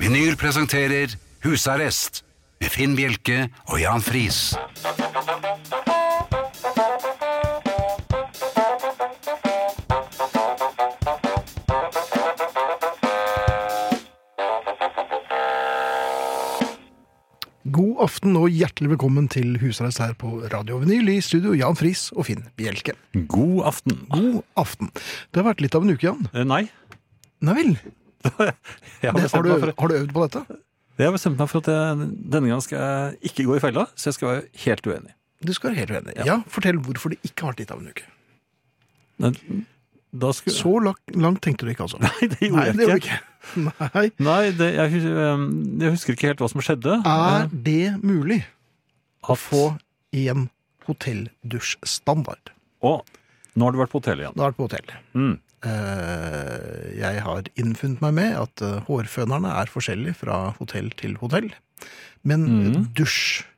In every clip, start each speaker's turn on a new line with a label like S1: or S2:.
S1: Vinyl presenterer Husarrest med Finn Bjelke og Jan Friis.
S2: God aften og hjertelig velkommen til Husarrest her på Radio Vinyl i studio Jan Friis og Finn Bjelke.
S3: God aften.
S2: God aften. Det har vært litt av en uke, Jan.
S3: Eh, Nei.
S2: Nei vel?
S3: Jeg har,
S2: Det, har,
S3: bestemt
S2: du,
S3: meg for,
S2: har du øvd på dette?
S3: jeg har bestemt meg for at jeg, denne gang skal jeg ikke gå i fella, så jeg skal være helt uenig.
S2: Du skal være helt uenig. Ja. fortell hvorfor det ikke har vært litt av en uke.
S3: Men Da skulle...
S2: Så lak- langt tenkte du ikke, altså?
S3: Nei, det gjorde
S2: Nei,
S3: jeg
S2: det
S3: ikke.
S2: gjorde du ikke. Nei.
S3: Nei, det, jeg, hus- eh, jeg husker ikke helt hva som skjedde.
S2: Er
S3: Eh,
S2: det mulig å
S3: at-
S2: få én hotelldusjstandard?
S3: Å, nå har du vært på hotellet igjen.
S2: Da er det på hotell.
S3: Mm.
S2: Eh, Jeg har innfunnet meg med at eh, hårfønerne er forskjellige fra hotell til hotell. Men
S3: Mhm.
S2: dusj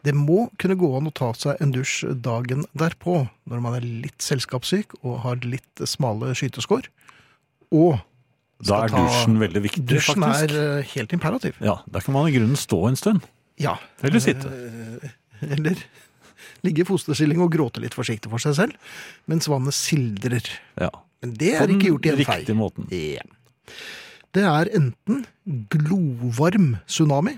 S2: Det må kunne gå an å ta seg en dusj dagen derpå, når man er litt selskapssyk og har litt smale skyteskår. Og
S3: Da
S2: skal
S3: er
S2: ta-
S3: dusjen veldig viktig,
S2: dusjen
S3: faktisk.
S2: er eh, helt imperativ.
S3: Ja, da kan man i grunnen stå en stund.
S2: Ja.
S3: Eller sitte.
S2: Eh, Eller ligge i fosterstilling og gråte litt forsiktig for seg selv, mens vannet sildrer.
S3: Ja.
S2: Men det er ikke gjort i en fei.
S3: Sånn Riktig måten.
S2: Ja. Det er enten glovarm tsunami,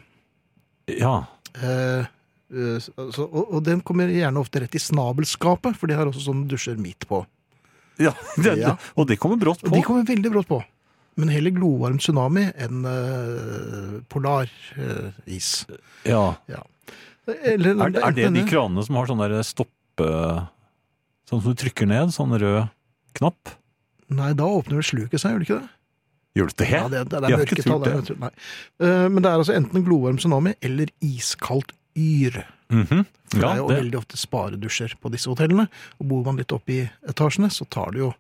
S3: Ja.
S2: eh, eh, altså, og, og den kommer gjerne ofte rett i snabelskapet, for de har også sånne dusjer midt på.
S3: ja. Det,
S2: Ja.
S3: Og det kommer brått
S2: Og de
S3: på.
S2: kommer veldig brått på. Men heller glovarm tsunami enn eh, polaris.
S3: Ja.
S2: Eller,
S3: Er, er det de
S2: enten-
S3: kranene som har sånn der stoppe Sånn som du trykker ned, sånn rød knapp?
S2: Nei, da åpner vel sluket seg, gjør det ikke det?
S3: Gjør du det?
S2: Ja, det, det, det
S3: Vi
S2: er
S3: har ikke
S2: mørketall.
S3: turt
S2: Det. er mørketall, Nei. Eh, Men det er altså enten glovarm tsunami eller iskaldt yr.
S3: Mhm.
S2: For det
S3: ja,
S2: er jo
S3: det,
S2: veldig ofte sparedusjer på disse hotellene. Og bor man litt oppe i etasjene, så tar det jo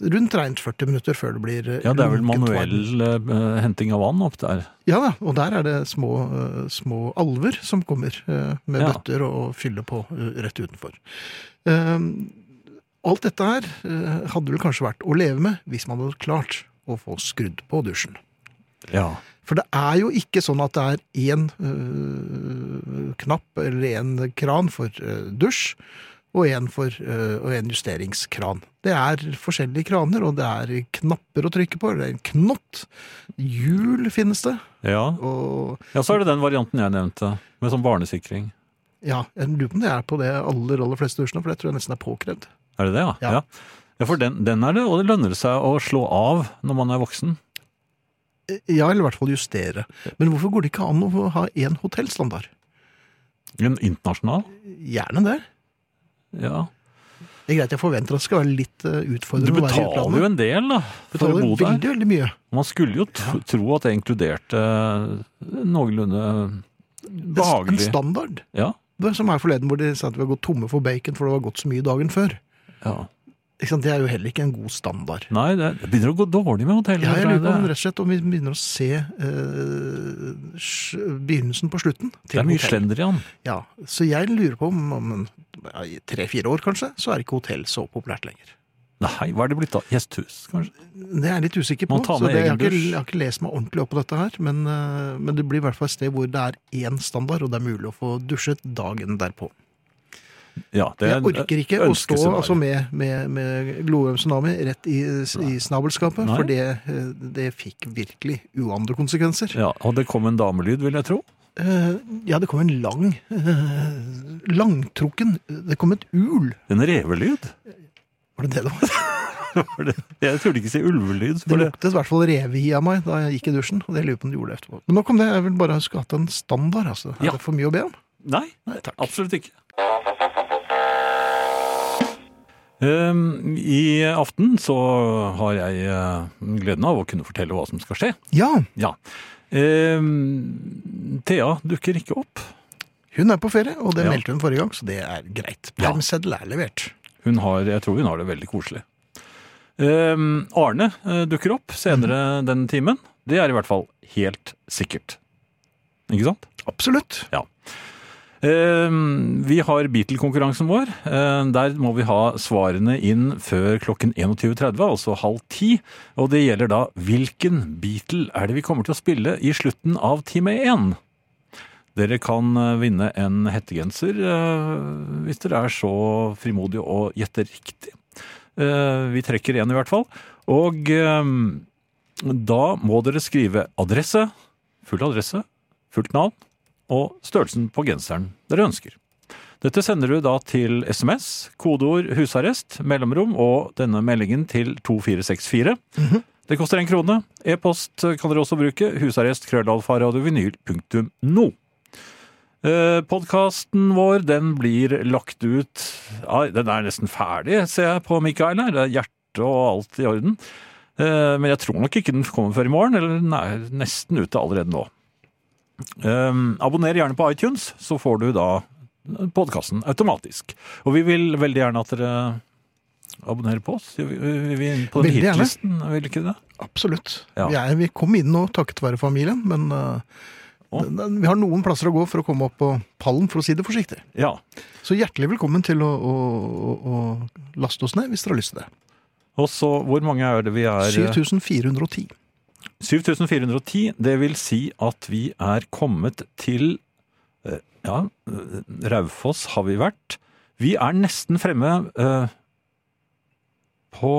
S2: rundt regnt 40 minutter før det blir eh,
S3: ja, det er vel
S2: lunkent varmt.
S3: manuell eh, henting av vann opp der.
S2: Ja da, og der er det små, eh, små alver som kommer eh, med
S3: Ja.
S2: bøtter og fyller på eh, rett utenfor. Eh, alt dette her eh, hadde vel kanskje vært å leve med hvis man hadde klart å få skrudd på dusjen.
S3: Ja.
S2: For det er jo ikke sånn at det er én øh, knapp eller én kran for øh, dusj, og én for øh, og en justeringskran. Det er forskjellige kraner, og det er knapper å trykke på. Det er en knott. Hjul finnes det.
S3: ja.
S2: Og
S3: Ja, så er det den varianten jeg nevnte, med sånn barnesikring.
S2: ja, jeg lurer på om det er på det aller, aller fleste dusjene, for det tror jeg nesten er påkrevd.
S3: Er det det, ja?
S2: Ja.
S3: Ja, Ja, for den, den er det, og det lønner seg å slå av når man er voksen.
S2: Eh, Ja, eller i hvert fall justere. Men hvorfor går det ikke an å ha én hotellstandard?
S3: En internasjonal?
S2: Gjerne det.
S3: Ja.
S2: Det er greit, jeg forventer at det skal være litt øh,
S3: Du
S2: utfordrende å være i
S3: betaler
S2: utlandet.
S3: jo en del, da, for å
S2: Betaler
S3: bo der.
S2: veldig, veldig mye.
S3: Man skulle jo tro, tro at det inkluderte eh, noenlunde
S2: En
S3: behagelig
S2: standard.
S3: Ja.
S2: Det som er forleden hvor de sa at vi har gått tomme for bacon for det var gått så mye dagen før.
S3: ja.
S2: Ikke sant? Det er jo heller ikke en god standard.
S3: Nei, det det begynner å gå dårlig med hotellet.
S2: Ja, jeg
S3: tror
S2: lurer på om,
S3: det,
S2: rett og slett, om vi begynner å se eh, sj- begynnelsen på slutten.
S3: er- det er mye
S2: hotell.
S3: slender i han.
S2: Ja, så jeg lurer på om om en- ja, i tre-fire år kanskje, så er ikke hotell så populært lenger.
S3: Nei, hva er det blitt da? Gjesthus, kanskje?
S2: Det er jeg litt usikker på.
S3: Man tar
S2: så
S3: med
S2: det, jeg,
S3: egen
S2: har ikke,
S3: dusj.
S2: jeg har ikke lest meg ordentlig opp på dette her, men, eh, men det blir i hvert fall et sted hvor det er én standard, og det er mulig å få dusjet dagen derpå.
S3: Ja, det
S2: Jeg orker ikke å stå
S3: ønskescenario.
S2: altså, med, med, med glovarm tsunami rett i, i snabelskapet,
S3: Nei.
S2: for det, eh, det fikk virkelig uante konsekvenser. Ja.
S3: Ja, og det kom en damelyd, vil jeg tro.
S2: ja, det kom en lang eh, Langtrukken Det kom et ul.
S3: En revelyd?
S2: Var det det det var?
S3: For det- Jeg trodde ikke si ulvelyd.
S2: Det
S3: For det.
S2: luktet i hvert fall revehi av meg da jeg gikk i dusjen. Og det lurer jeg på om det gjorde det etterpå. Men nok om det. Jeg vil bare skulle hatt en standard. altså. Er
S3: Ja.
S2: det for mye å be om?
S3: Nei,
S2: Nei, takk.
S3: absolutt ikke. Um, I aften så har jeg eh, gleden av å kunne fortelle hva som skal skje.
S2: Ja,
S3: Ja. Um, Thea dukker ikke opp.
S2: hun er på ferie, og det
S3: Ja.
S2: meldte hun forrige gang, så det er greit.
S3: Ja.
S2: Permseddel er levert.
S3: Hun har, jeg tror hun har det veldig koselig. Ehm, Arne eh, dukker opp senere den timen. Det er i hvert fall helt sikkert. Ikke sant?
S2: Absolutt.
S3: Eh, Vi har Beatle-konkurransen vår. Eh, Der må vi ha svarene inn før klokken 21.30, altså halv ti. Og det gjelder da hvilken Beatle er det vi kommer til å spille i slutten av time én? Dere kan eh, vinne en hettegenser eh, hvis dere er så frimodige og gjetter riktig. Eh, Vi trekker én i hvert fall. Og eh, da må dere skrive adresse, full adresse, fullt navn og størrelsen på genseren dere ønsker. Dette sender du da til SMS, kodeord 'husarrest', mellomrom og denne meldingen til 2464. Det koster én krone. E-post kan dere også bruke. Husarrest krøllalfaradiovinyl.no. Eh, Podkasten vår den blir lagt ut ja, Den er nesten ferdig, ser jeg på Mikael her. Det er hjerte og alt i orden. Eh, Men jeg tror nok ikke den kommer før i morgen, eller den er nesten ute allerede nå. Um, abonner gjerne på iTunes, så får du da podkasten automatisk. Og vi vil veldig gjerne at dere abonnerer på oss. Vi, vi, vi er på den
S2: Veldig gjerne.
S3: hitlisten, vil ikke det?
S2: Absolutt.
S3: Ja.
S2: Vi, er, vi kom inn nå takket være familien, men eh,
S3: Å.
S2: den- den- vi har noen plasser å gå for å komme opp på pallen, for å si det forsiktig.
S3: Ja.
S2: Så hjertelig velkommen til å, å, å, å laste oss ned hvis dere har lyst til det.
S3: Og så, hvor mange er det vi er? eh,
S2: 7410.
S3: 7410. Det vil si at vi er kommet til eh, Ja, eh, Raufoss har vi vært. Vi er nesten fremme eh, på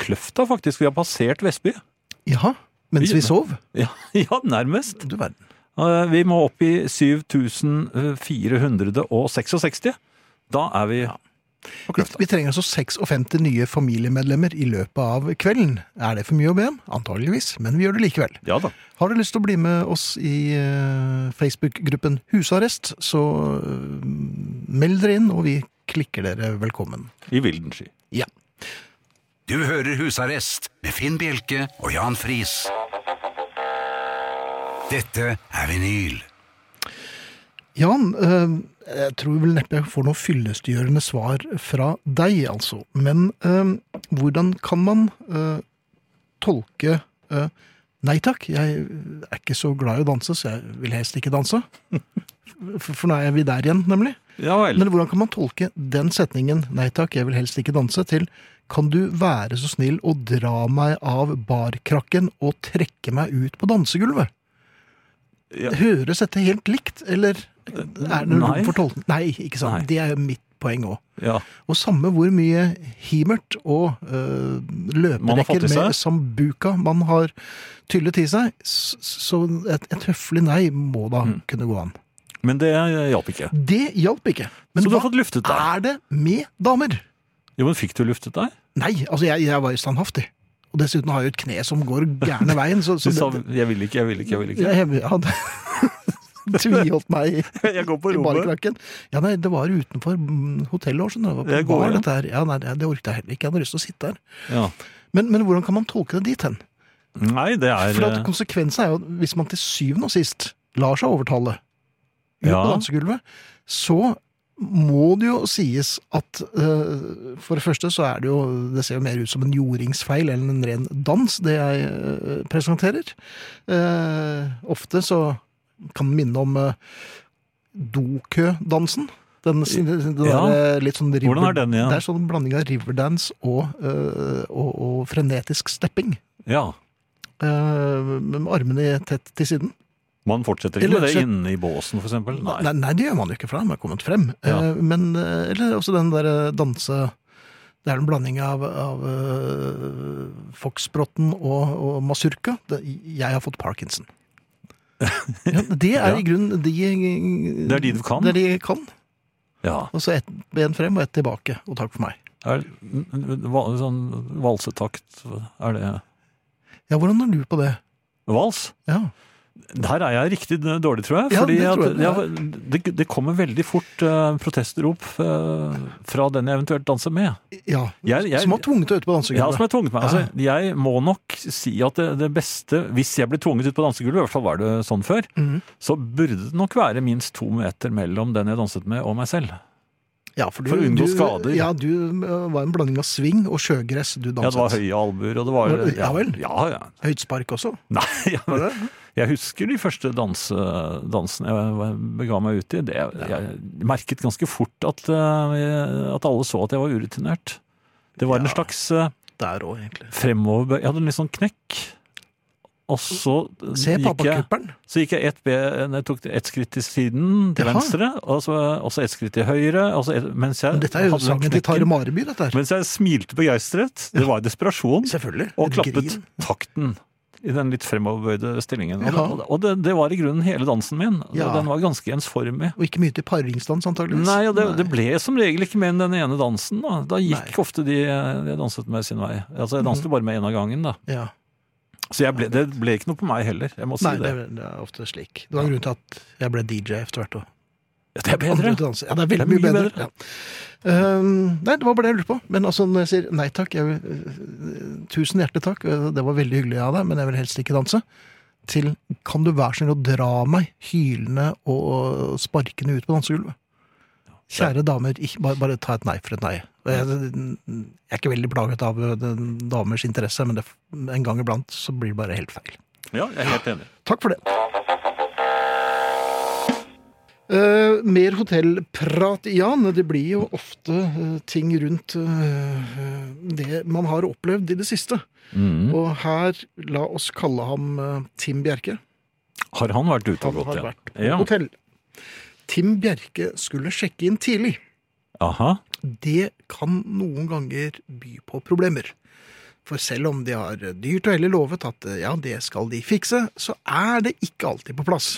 S3: Kløfta, faktisk. Vi har passert Vestby.
S2: Jaha, mens
S3: Vi-
S2: vi sov?
S3: Ja, ja nærmest.
S2: Du verden.
S3: Eh, Vi må opp i 7466. Da er vi på
S2: Vi,
S3: kløfta.
S2: vi trenger altså 56 nye familiemedlemmer i løpet av kvelden. Er det for mye å be om? Antageligvis, men vi gjør det likevel.
S3: Ja da.
S2: Har du lyst til å bli med oss i eh, Facebook-gruppen Husarrest, så eh, meld dere inn, og vi klikker dere velkommen.
S3: I vilden sky.
S2: Ja.
S1: Du hører Husarrest med Finn Bjelke og Jan Friis. Dette er vinyl.
S2: Jan, eh, jeg tror vel neppe jeg får noe fyllestgjørende svar fra deg, altså. Men eh, hvordan kan man eh, tolke eh, Nei takk, jeg er ikke så glad i å danse, så jeg vil helst ikke danse. For, for nå er vi der igjen, nemlig.
S3: Ja vel.
S2: Men hvordan kan man tolke den setningen 'nei takk, jeg vil helst ikke danse' til 'kan du være så snill å dra meg av barkrakken og trekke meg ut på dansegulvet'?
S3: Ja.
S2: Høres dette helt likt, eller er det
S3: Nei.
S2: noe for tolkning? Nei, ikke sant.
S3: Nei.
S2: Det er jo mitt poeng òg.
S3: Ja.
S2: Og samme hvor mye himert og øh,
S3: Man har fått
S2: løperekker
S3: i seg.
S2: med sambuca man har tyllet i seg, s- så et, et høflig nei må da
S3: Mm.
S2: kunne gå an.
S3: Men det eh, hjalp ikke.
S2: Det hjalp ikke. Men
S3: Så du
S2: hva
S3: har fått luftet deg.
S2: er det med damer?
S3: Jo, men fikk du luftet deg?
S2: Nei, altså jeg, jeg var jo standhaftig. Og dessuten har jeg jo et kne som går gærne veien. Så,
S3: Du
S2: så
S3: sa
S2: det,
S3: 'jeg vil ikke, jeg vil ikke, jeg vil
S2: jeg,
S3: ikke'.
S2: jeg hadde tviholdt meg i,
S3: Jeg går på
S2: i
S3: rommet.
S2: barkrakken. Ja, nei, det var utenfor mm, hotellet også. Det var på
S3: Jeg går
S2: bar,
S3: igjen.
S2: dette her. Ja, nei, det orket jeg heller ikke. Jeg hadde lyst til å sitte der.
S3: Ja.
S2: Men, men hvordan kan man tolke det dit hen?
S3: Nei, det
S2: For at
S3: er eh,
S2: konsekvensen er jo at hvis man til syvende og sist lar seg overtale ut
S3: Ja.
S2: på dansegulvet, så må det jo sies at eh, for det første så er det jo Det ser jo mer ut som en jordingsfeil enn en ren dans, det jeg eh, presenterer. Eh, ofte så kan den minne om eh, dokø-dansen. Den, den
S3: Ja.
S2: der, eh, litt sånn river,
S3: Hvordan er den igjen?
S2: Det er sånn blanding av riverdance og, eh, og, og frenetisk stepping
S3: Ja.
S2: eh, med armene tett til siden.
S3: Man fortsetter ikke
S2: Eller
S3: med det
S2: så-
S3: inne i båsen, for eksempel. Nei.
S2: Nei, nei, det gjør man jo ikke, for da har man kommet frem.
S3: Ja.
S2: Eh, Men, eh, eller også den der eh, danse... Det er en blanding av, av eh, foxbrotten og, og masurka. Det- Jeg har fått parkinson. Ja, det er
S3: Ja.
S2: i grunnen de
S3: Det er de du kan.
S2: Det er de jeg kan.
S3: Ja.
S2: Og så ett ben frem og ett tilbake, og takk for meg.
S3: Er, n- n- val- sånn valsetakt, er det
S2: Ja, hvordan har du på det?
S3: Vals?
S2: Ja.
S3: Der er jeg riktig dårlig, tror jeg.
S2: Ja,
S3: Fordi
S2: det tror
S3: at,
S2: jeg
S3: ja, det, det kommer veldig fort eh, protestrop eh, fra den jeg eventuelt danser med.
S2: ja.
S3: Jeg- jeg-
S2: som har tvunget deg ut på
S3: Ja, som
S2: dansegulvet.
S3: jeg tvunget meg. Altså, jeg må nok si at det, det beste, hvis jeg blir tvunget ut på dansegulvet, i hvert fall var det sånn før,
S2: Mhm.
S3: så burde det nok være minst to meter mellom den jeg danset med og meg selv.
S2: Ja, for, du,
S3: For å
S2: du,
S3: unngå skader.
S2: Ja, du eh, var en blanding av sving og sjøgress du
S3: Ja,
S2: danset.
S3: det var høye albuer, og det var
S2: Var det- ja vel.
S3: Ja, ja.
S2: Høydspark også.
S3: Nei, ja,
S2: Var det?
S3: Jeg husker de første danse, dansene jeg var- bega meg ut i. Det, jeg merket ganske fort at, eh, at alle så at jeg var urutinert. Det var en
S2: Ja.
S3: slags eh,
S2: Der òg, egentlig.
S3: fremoverbøy. Jeg hadde en litt sånn knekk. Og så
S2: Se
S3: gikk jeg
S2: pappakuppelen.
S3: så gikk jeg ett be- nei, tok ett skritt til siden, til
S2: Jaha.
S3: venstre, og så, og så ett skritt til høyre. Og så et, mens jeg
S2: Men Dette er jo
S3: hadde den
S2: sangen til Tare
S3: knekken,
S2: Mareby, dette her.
S3: Mens jeg smilte begeistret. Det var desperasjon.
S2: Selvfølgelig.
S3: Og
S2: Et
S3: klappet
S2: grin.
S3: takten i den litt fremoverbøyde stillingen. Og,
S2: Ja.
S3: og, og det, det var i grunnen hele dansen min. og
S2: Ja.
S3: Den var ganske ensformig.
S2: Og ikke mye til paringsdans, antageligvis.
S3: Nei, og det, det
S2: Nei.
S3: ble som regel ikke mer enn den ene dansen. Da, da
S2: Nei.
S3: gikk
S2: Mhm.
S3: ofte de jeg danset med sin vei. Altså, jeg danset jo bare med én av gangen, da.
S2: Ja.
S3: Så jeg ble, det ble ikke noe på meg heller. Jeg må si
S2: Nei, det
S3: det.
S2: er, det er ofte slik. Det var en grunn til at jeg ble DJ etter hvert òg.
S3: Det er bedre.
S2: Ja, det er veldig mye bedre. Ja. Ehm, nei, det var bare det jeg lurte på. Men altså, når jeg sier nei takk, jeg vil, øh, tusen hjertelig takk, øh, det var veldig hyggelig av deg, men jeg vil helst ikke danse. Til kan du være så snill å dra meg hylende og sparkende ut på dansegulvet? Kjære damer, ikke, bare, bare ta et nei for et nei. Og Jeg, jeg er ikke veldig plaget av øh, den damers interesse, men det, en gang iblant så blir det bare helt feil.
S3: Ja, jeg er helt enig.
S2: Takk for det. Eh, mer hotellprat, Jan. Det blir jo ofte eh, ting rundt eh, det man har opplevd i det siste.
S3: Mhm. Mm.
S2: Og her, la oss kalle ham eh, Tim Bjerke.
S3: Har han vært ute
S2: Han
S3: og gått
S2: har
S3: igjen?
S2: vært på
S3: Ja.
S2: hotell. Tim Bjerke skulle sjekke inn tidlig.
S3: Aha.
S2: Det kan noen ganger by på problemer. For selv om de har dyrt og hellig lovet at eh, ja, det skal de fikse, så er det ikke alltid på plass.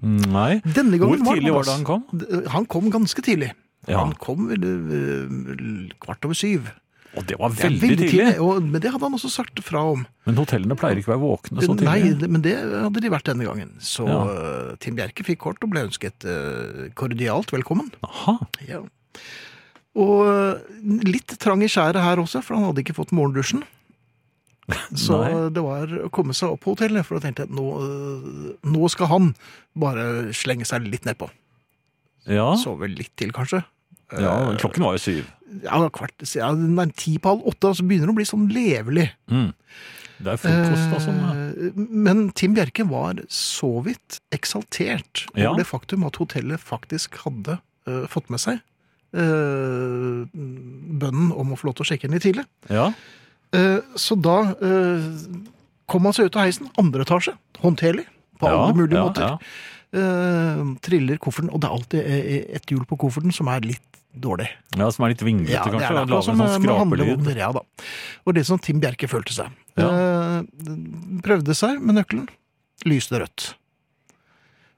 S3: Nei.
S2: Denne
S3: Hvor
S2: gangen
S3: tidlig var
S2: plass.
S3: det han kom?
S2: D- Han kom ganske tidlig.
S3: Ja.
S2: Han kom vel, eh, kvart over syv.
S3: Og det var
S2: Det er
S3: veldig, tidlig.
S2: og, men det hadde han også sagt fra om.
S3: Men hotellene pleier ikke å være våkne så
S2: Nei,
S3: tidlig.
S2: det- men det hadde de vært denne gangen. Så eh, Tim Bjerke fikk kort og ble ønsket eh, kordialt velkommen.
S3: Aha.
S2: Ja. Og eh, litt trang i skjæret her også, for han hadde ikke fått morgendusjen. Så
S3: Nei.
S2: det var å komme seg opp på hotellet, for da tenkte jeg at nå, eh, nå skal han bare slenge seg litt nedpå.
S3: Ja.
S2: Sove litt til, kanskje.
S3: ja,
S2: eh,
S3: klokken var jo syv.
S2: ja, kvart, ja, nei, ti på halv åtte, altså begynner det å bli sånn levelig.
S3: Mm. Det er frokost, altså.
S2: Eh, Men Tim Bjerke var så vidt eksaltert over
S3: Ja.
S2: det faktum at hotellet faktisk hadde eh, fått med seg eh, bønnen om å få lov til å sjekke inn litt tidlig.
S3: Ja.
S2: Eh, så da eh, kom han seg ut av heisen, andre etasje, håndterlig, på
S3: ja,
S2: alle mulige
S3: ja,
S2: måter.
S3: Ja.
S2: Eh, triller kofferten, og det er alltid eh, et hjul på kofferten som er litt dårlig.
S3: ja, som er litt vinglete,
S2: Ja, det Altså,
S3: kanskje.
S2: er
S3: og
S2: akkurat
S3: Lager
S2: som eh,
S3: en sånn
S2: med
S3: skrapelyd.
S2: handlevogner, ja da. Og det som Tim Bjerke følte seg.
S3: Ja.
S2: Eh, prøvde seg med nøkkelen, lyste rødt.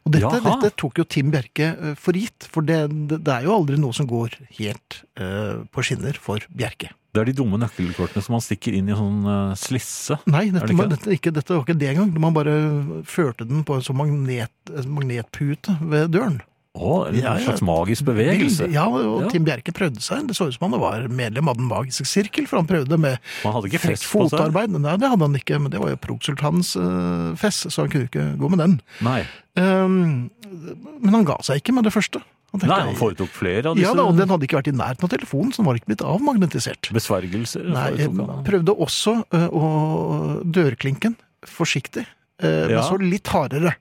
S2: Og dette,
S3: Jaha.
S2: dette tok jo Tim Bjerke eh, for gitt, for det, det det er jo aldri noe som går helt eh, på skinner for Bjerke.
S3: Det er de dumme nøkkelkortene som man stikker inn i en sånn eh, slisse.
S2: Nei,
S3: Er
S2: dette,
S3: det ikke
S2: var-
S3: det?
S2: dette, ikke, dette var ikke det engang. Man bare førte den på en sånn magnet, en magnetpute ved døren.
S3: Å, en
S2: Ja, ja.
S3: slags magisk bevegelse.
S2: Veldig- Ja, og
S3: Ja.
S2: Tim Bjerke prøvde seg. Det så ut som han var medlem av den magiske sirkel, for han prøvde med
S3: Man hadde
S2: Frekk
S3: ikke altså. press på seg.
S2: fotarbeid? Nei, det hadde han ikke, men det var jo Progsultanens uh, fest, så han kunne ikke gå med den.
S3: Nei.
S2: Ehm, men han ga seg ikke med det første. Han tenkte-
S3: Nei, han foretok flere av
S2: Ja da, og
S3: disse
S2: den hadde ikke vært i nærheten av telefonen, så den var ikke blitt avmagnetisert.
S3: besvergelser. altså,
S2: Nei, jeg
S3: foretok han.
S2: prøvde også eh, å dørklinken, forsiktig, eh, men
S3: Ja.
S2: så litt hardere.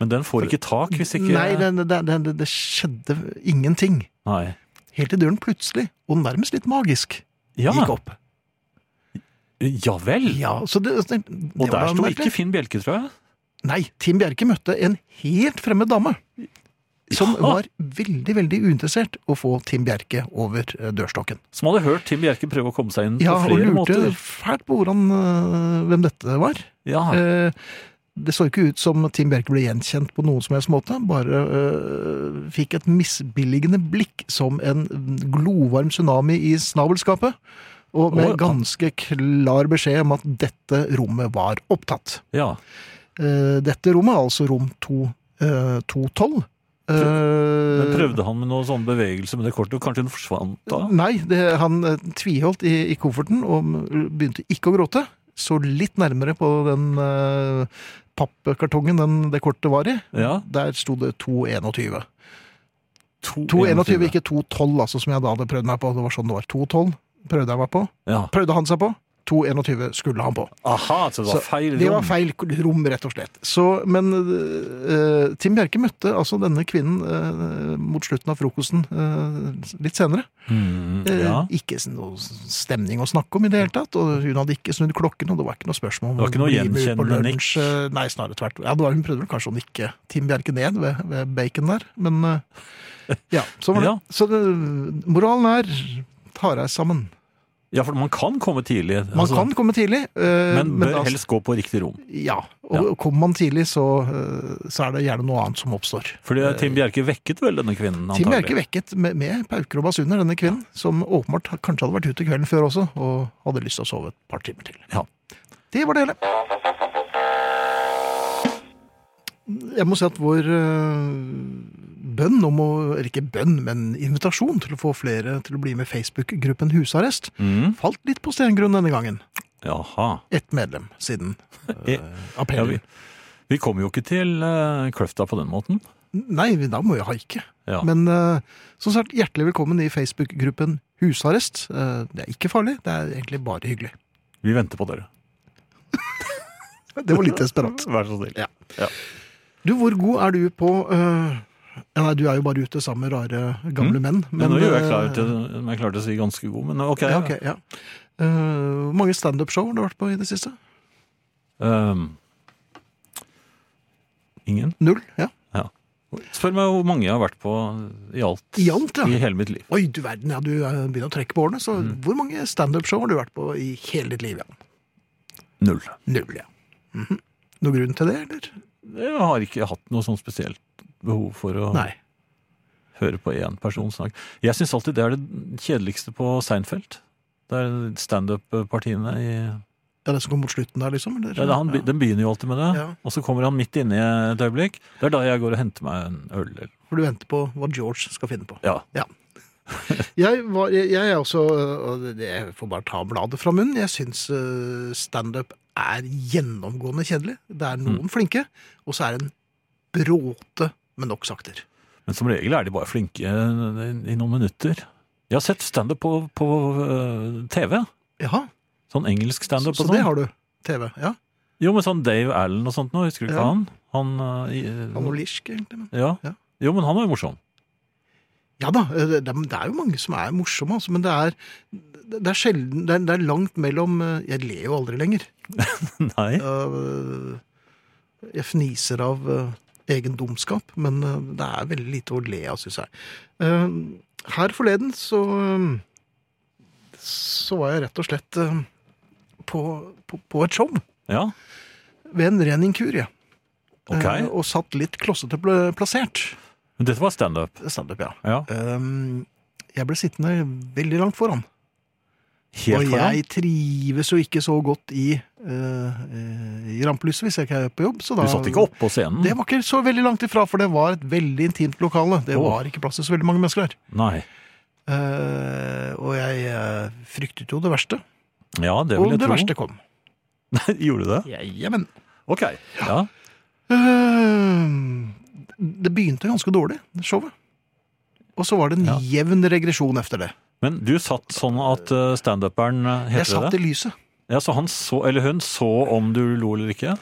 S3: Men den får ikke tak hvis ikke
S2: Nei, det, det, det, det skjedde ingenting.
S3: Nei.
S2: Helt til døren plutselig, og nærmest litt magisk,
S3: Ja.
S2: gikk opp.
S3: ja vel.
S2: Ja, så det, det, det
S3: Og
S2: var
S3: der sto
S2: merkelig.
S3: ikke Finn Bjelke, tror jeg.
S2: Nei, Tim Bjerke møtte en helt fremmed dame. Som
S3: Ja.
S2: var veldig veldig uinteressert å få Tim Bjerke over eh, dørstokken.
S3: Som hadde hørt Tim Bjerke prøve å komme seg inn
S2: Ja, Og
S3: på flere
S2: lurte
S3: måter.
S2: fælt på hvordan, eh, hvem dette var.
S3: Ja,
S2: Eh, Det så ikke ut som Tim Bjerke ble gjenkjent på noen som helst måte. Bare eh, fikk et misbilligende blikk som en glovarm tsunami i snabelskapet. Og
S3: Å, ja.
S2: med ganske klar beskjed om at dette rommet var opptatt.
S3: ja.
S2: Eh, dette rommet, altså rom 2, eh, 212. Eh,
S3: Men prøvde han med noe sånn bevegelse med det kortet, og kanskje hun forsvant da?
S2: Nei, det, han eh, tviholdt i, i kofferten og begynte ikke å gråte. Så litt nærmere på den eh, pappkartongen den, det kortet var i.
S3: Ja.
S2: Der sto det 221. 221,
S3: 221.
S2: ikke 212, altså, som jeg da hadde prøvd meg på. Det var sånn det var. 212 prøvde jeg meg på.
S3: Ja.
S2: Prøvde han seg på. 221 skulle han på.
S3: Aha, så det var
S2: Så
S3: feil
S2: Det var
S3: rom.
S2: feil rom, rett og slett. Så, men eh, Tim Bjerke møtte altså denne kvinnen eh, mot slutten av frokosten eh, litt senere.
S3: Mm,
S2: Eh,
S3: ja.
S2: Ikke s- noe stemning å snakke om i det hele tatt, og hun hadde ikke snudd klokken, og det var ikke noe spørsmål om
S3: Det var ikke
S2: å
S3: noe
S2: bli med ut på
S3: gjenkjennende
S2: lunsj. Eh, Nei, snarere tvert. Ja, det var, hun prøvde vel kanskje å nikke Tim Bjerke ned ved, ved bacon der, men eh, ja, så var det.
S3: Ja.
S2: Så det, moralen er, ta deg sammen.
S3: ja, for man kan komme tidlig.
S2: Man
S3: altså,
S2: kan komme tidlig, eh,
S3: men bør
S2: altså-
S3: helst gå på riktig rom.
S2: Ja, og kommer man tidlig, så, eh, så er det gjerne noe annet som oppstår.
S3: Fordi eh, Tim Bjerke vekket vel denne kvinnen,
S2: Eh, Tim Bjerke
S3: antagelig.
S2: vekket med, med pauker og basuner denne kvinnen, som åpenbart kanskje hadde vært ute kvelden før også, og hadde lyst til å sove et par timer til.
S3: Ja.
S2: Det var det hele. Jeg må si at vår eh, bønn om å, eller ikke bønn, men invitasjon til å få flere til å bli med i Facebook-gruppen Husarrest,
S3: Mm.
S2: falt litt på stengrunn denne gangen.
S3: Jaha.
S2: Ett medlem siden
S3: Eh, Ja,
S2: appellen.
S3: vi, vi kom jo ikke til eh, Kløfta på den måten.
S2: Nei, da må jeg haike.
S3: Ja.
S2: Men eh, som sagt, hjertelig velkommen i Facebook-gruppen Husarrest. Eh, det er ikke farlig, det er egentlig bare hyggelig.
S3: Vi venter på dere.
S2: Det var litt desperat.
S3: Vær så snill.
S2: Ja. Du, hvor god er du på eh, ja, Nei, du er jo bare ute sammen med rare gamle menn.
S3: Men, Mm. nå gjør jeg
S2: eh,
S3: klar til, men jeg klarte å si ganske god, men ok.
S2: ja, ok, ja. Eh, Hvor mange standup-show har du vært på i det siste?
S3: Ehm, ingen?
S2: Null? Ja.
S3: Ja. Spør meg hvor mange jeg har vært på i alt
S2: I alt,
S3: i
S2: ja.
S3: hele mitt liv.
S2: Oi, du verden, ja, du eh, begynner å trekke på årene. Så
S3: Mm.
S2: hvor mange standup-show har du vært på i hele ditt liv? Ja?
S3: Null.
S2: Null, ja. Mhm. Noen grunn til det, eller?
S3: Jeg har ikke hatt noe sånn spesielt behov for å
S2: Nei.
S3: høre på én person snakke. Jeg syns alltid det er det kjedeligste på Seinfeld. Det er standup-partiene i
S2: Ja, det som kom mot slutten der, liksom? Eller?
S3: ja, det, han, be-
S2: Ja.
S3: Den begynner jo alltid med det,
S2: Ja.
S3: og så kommer han midt inne i et øyeblikk. Det er da jeg går og henter meg en øl. eller-
S2: For du venter på hva George skal finne på.
S3: Ja.
S2: Jeg, var, jeg, jeg er også øh, og det- Jeg får bare ta bladet fra munnen. Jeg syns eh, standup er gjennomgående kjedelig. Det er noen
S3: Mm.
S2: flinke, og så er det en bråte med nok sakter.
S3: Men som regel er de bare flinke i, i noen minutter. Jeg har sett standup på, på øh, TV.
S2: Jaha,
S3: Sånn
S2: så,
S3: engelsk standup og
S2: så det
S3: sånn.
S2: har du. TV. Ja.
S3: Jo, men sånn Dave Allen og sånt nå, husker du ikke
S2: Ja.
S3: han? Han, øh, i, øh,
S2: Han var lirsk, egentlig. Men.
S3: ja.
S2: Ja.
S3: Jo, men han var jo morsom.
S2: Ja da, eh, det, det er jo mange som er morsomme, altså, men det er, det er sjelden det er, det er langt mellom eh, Jeg ler jo aldri lenger.
S3: Nei.
S2: Eh, Jeg fniser av eh, egen dumskap, men eh, det er veldig lite å le av, syns jeg. Eh, Her forleden så eh, så var jeg rett og slett eh, på, på, på et show
S3: Ja,
S2: ved en ren inkurie.
S3: ok.
S2: Eh, Og satt litt klossete pl- plassert.
S3: Men dette var standup.
S2: Standup, ja.
S3: Ja.
S2: Eh, Jeg ble sittende veldig langt foran.
S3: Helt
S2: og
S3: foran.
S2: jeg trives jo ikke så godt i, eh, i rampelyset hvis jeg ikke er på jobb. Så da,
S3: Du satt ikke oppå scenen?
S2: Det var ikke så veldig langt ifra, for det var et veldig intimt lokale. Det
S3: Åh.
S2: var ikke plass til så veldig mange mennesker der.
S3: Nei.
S2: Eh, og jeg eh, fryktet jo det verste.
S3: Ja, det
S2: Og
S3: vil
S2: det
S3: jeg tro.
S2: verste kom.
S3: Nei, Gjorde du det?
S2: Jamen.
S3: Ok. Ja.
S2: Eh, det begynte ganske dårlig, showet. Og så var det en
S3: Ja.
S2: jevn regresjon efter det.
S3: Men du satt sånn at øh, standuperen øh,
S2: Jeg
S3: Heter
S2: satt
S3: det det?
S2: i lyset.
S3: Ja, så han så, eller hun så om du lo eller ikke?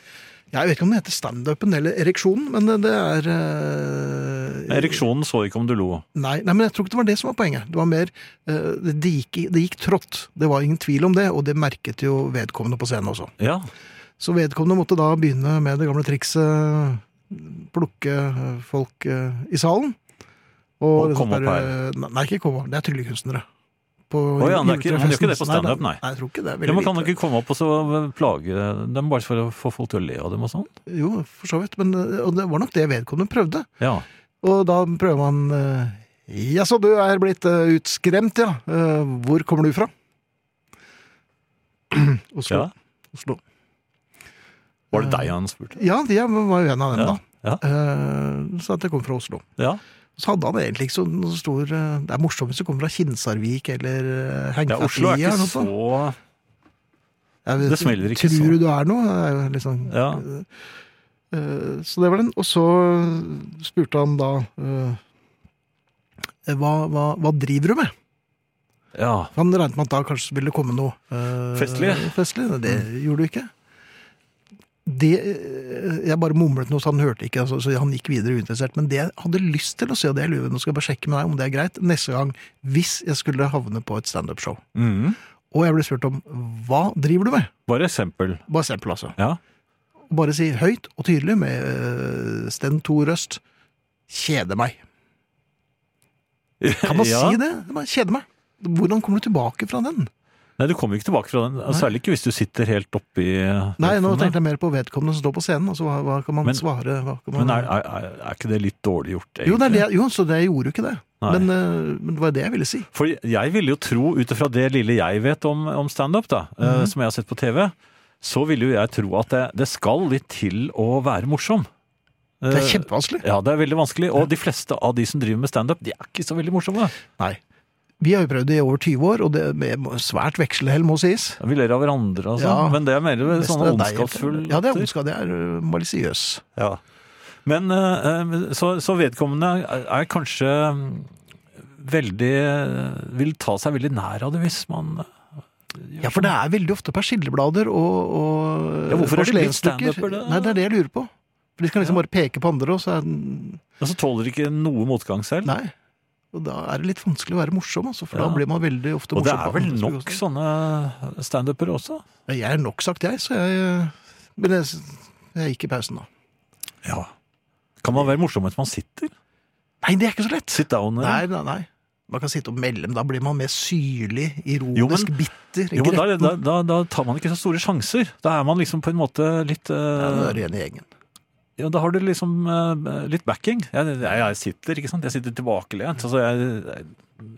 S2: Jeg vet ikke om det heter standupen eller ereksjonen, men det er eh,
S3: Ereksjonen så ikke om du lo.
S2: Nei, nei, men jeg tror ikke det var det som var poenget. Det var mer, eh, det, gikk, det gikk trått. Det var ingen tvil om det, og det merket jo vedkommende på scenen også.
S3: Ja.
S2: Så vedkommende måtte da begynne med det gamle trikset, plukke eh, folk eh, i salen.
S3: Og
S2: liksom
S3: komme opp
S2: bare- Nei, nei, ikke komme opp. Det er tryllekunstnere. På
S3: Å ja, det er ikke- men det er ikke det på
S2: juletrefesten.
S3: standup, nei.
S2: Nei, jeg tror ikke det.
S3: Ja,
S2: Veldig
S3: man kan
S2: lite.
S3: ikke komme opp og så eh, plage dem bare for å få folk til å le av dem og sånn.
S2: Jo, for så vidt. Men eh, og det var nok det vedkommende prøvde.
S3: Ja.
S2: Og da prøver man eh, Jaså, du er blitt eh, utskremt, ja. Eh, Hvor kommer du fra? Oslo.
S3: ja.
S2: Oslo.
S3: Var det deg han spurte?
S2: Ja, de er- var jo en av dem,
S3: Ja.
S2: da. Eh, Så at jeg kom fra Oslo.
S3: ja.
S2: Så hadde han egentlig ikke så noe stor eh, Det er morsomt hvis du kommer fra Kinsarvik eller eh,
S3: ja
S2: Hengfatlia.
S3: Oslo er
S2: eller
S3: ikke
S2: noe
S3: så
S2: sånt. Jeg vet
S3: det smeller ikke
S2: tror
S3: så.
S2: du du er noe? Det er jo Liksom,
S3: Ja.
S2: Eh, Så det var den. Og så eh, spurte han da eh, hva, hva, hva driver du med?
S3: Ja.
S2: Han regnet med at da kanskje ville komme noe eh,
S3: Festlig.
S2: festlig. Nei, Det gjorde du ikke. Det, eh, jeg bare mumlet noe, så han hørte ikke, altså, så han gikk videre uinteressert. Men det jeg hadde lyst til å si, og det jeg lurer, nå skal jeg bare sjekke med deg om det er greit, neste gang, hvis jeg skulle havne på et standup-show,
S3: Mhm.
S2: Mm. og jeg ble spurt om hva driver du med?
S3: Bare eksempel.
S2: Bare eksempel, altså.
S3: Ja.
S2: Bare si høyt og tydelig med eh, stentorrøst kjede meg. Kan man
S3: Ja.
S2: si det? Man kjeder meg. Hvordan kommer du tilbake fra den?
S3: Nei, du kommer jo ikke tilbake fra den. Altså, Særlig ikke hvis du sitter helt oppi
S2: Nei, nå tenkte jeg mer på vedkommende som står på scenen. Altså, hva, hva kan man
S3: Men-
S2: svare? Hva kan man...
S3: Men er, er, er- er ikke det litt dårlig gjort, egentlig?
S2: jo, det er det, jeg- jo, så det jeg gjorde jo ikke det.
S3: Nei.
S2: Men, eh, men det var det jeg ville si.
S3: For jeg ville jo tro, ut ifra det lille jeg vet om, om standup, da, eh,
S2: Mhm.
S3: som jeg har sett på TV, så ville jo jeg tro at det, det skal litt til å være morsom.
S2: Det er
S3: Eh,
S2: kjempevanskelig.
S3: Ja, det er veldig vanskelig. Og de fleste av de som driver med standup, de er ikke så veldig morsomme.
S2: Nei. Vi har jo prøvd det i over 20 år, og det med svært vekselhell, må sies.
S3: Vi ler av hverandre og sånn,
S2: Ja.
S3: men det er mer
S2: Mest
S3: sånn
S2: av deg.
S3: ondskapsfull
S2: Ja, det er
S3: latter.
S2: ondskap. Det er eh, malisiøs.
S3: Ja. Men eh, eh, så, så vedkommende er- er kanskje mm, veldig eh, Vil ta seg veldig nær av det hvis man eh,
S2: Ja, for det er veldig ofte persilleblader og, og
S3: Ja, hvorfor er det blitt
S2: porselensdukker.
S3: stand-upper, da?
S2: Nei, det er det jeg lurer på. For de skal liksom bare peke på andre, og så er den
S3: Og så altså tåler de ikke noe motgang selv.
S2: Nei. Og da er det litt vanskelig å være morsom, altså, for
S3: Ja.
S2: da blir man veldig ofte
S3: Og det
S2: morsom.
S3: er
S2: på
S3: vel
S2: andres
S3: nok
S2: bekostning.
S3: sånne eh, standupere også?
S2: Ja, Jeg er nok sagt, jeg, så jeg Men jeg, jeg gikk i pausen, da.
S3: Ja. Kan man være morsom mens man sitter?
S2: Nei, det er ikke så lett!
S3: Sit down? eh? eller?
S2: Nei, nei, nei. Man kan sitte og melde, men da blir man mer syrlig,
S3: Jo,
S2: ironisk,
S3: men-
S2: bitter.
S3: Jo, men da,
S2: gretten.
S3: da, da, da tar man ikke så store sjanser. Da er man liksom på en måte litt
S2: Ja, da
S3: eh,
S2: er du igjen i gjengen.
S3: Ja, da har du liksom eh, litt backing. Jeg, jeg, jeg sitter, ikke sant? Jeg sitter tilbakelent. Altså, jeg, jeg,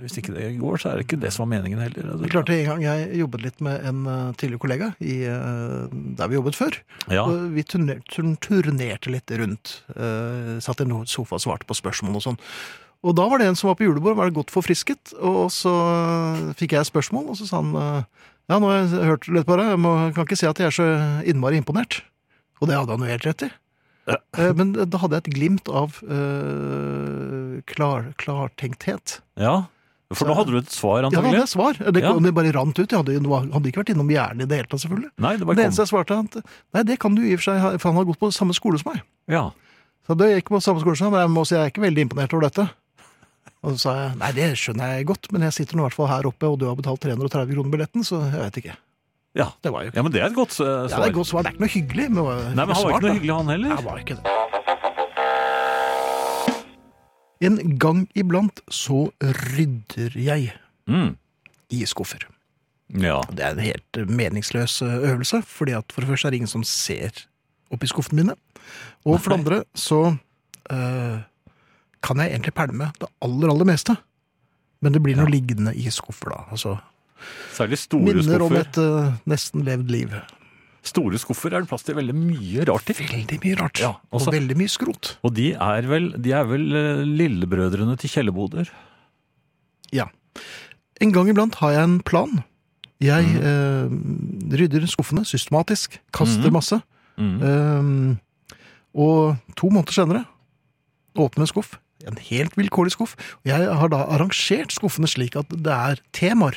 S3: hvis ikke det går, så er det ikke det som var meningen heller. altså.
S2: Det er klart, En gang jeg jobbet litt med en eh, tidligere kollega i, eh, der vi jobbet før.
S3: Ja,
S2: Og vi turner, turn- turnerte litt rundt. eh, satt i en sofa og svarte på spørsmål og sånn. Og da var det en som var på julebord, var det godt forfrisket. Og så fikk jeg et spørsmål, og så sa han eh, Ja, nå har jeg hørt litt på deg, jeg må- kan ikke si at jeg er så innmari imponert. Og det hadde han jo helt rett i.
S3: Ja.
S2: Eh, Men da hadde jeg et glimt av eh, klar, klartenkthet.
S3: ja. For nå hadde du et svar,
S2: Ja, da hadde
S3: antagelig.
S2: jeg svar. Det,
S3: Ja.
S2: kom, det bare rant ut. Jeg hadde, jo- hadde ikke vært innom hjernen i det hele tatt, selvfølgelig.
S3: Nei, det
S2: Det
S3: bare
S2: eneste
S3: kom.
S2: jeg svarte, er at nei, det kan du i og for seg, ha, for han har gått på samme skole som meg.
S3: Ja.
S2: Så da gikk jeg på samme skole som han, men jeg må si jeg er ikke veldig imponert over dette. Og så sa jeg nei, det skjønner jeg godt, men jeg sitter nå i hvert fall her oppe, og du har betalt 330 kroner billetten, så jeg vet ikke.
S3: Ja.
S2: Det var jo ikke
S3: ja, men det er et godt eh,
S2: ja, det
S3: svar.
S2: er et godt svar. Det er ikke noe hyggelig. Men det var
S3: Nei, men han var
S2: svart,
S3: ikke noe
S2: da.
S3: hyggelig, han
S2: Nei,
S3: heller.
S2: det var ikke det. En gang iblant så rydder jeg
S3: Mm.
S2: i skuffer.
S3: Ja.
S2: Og Det er en helt meningsløs eh, øvelse, fordi at for det første er det ingen som ser oppi skuffene mine. Og for det andre så eh, kan jeg egentlig pælme det aller, aller meste. Men det blir noe liggende i skuffer, da. Altså,
S3: Særlig store
S2: minner om
S3: skuffer.
S2: et eh, nesten levd liv.
S3: Store skuffer er det plass til veldig mye rart i.
S2: Veldig mye rart.
S3: Ja, altså- også-
S2: og veldig mye skrot.
S3: Og de er vel, de er vel eh, lillebrødrene til kjelleboder.
S2: Ja. En gang iblant har jeg en plan. Jeg eh, rydder skuffene systematisk, kaster
S3: Mhm.
S2: masse.
S3: Mhm.
S2: Ehm, og to måneder senere åpner en skuff. En helt vilkårlig skuff. Og jeg har da arrangert skuffene slik at det er temaer.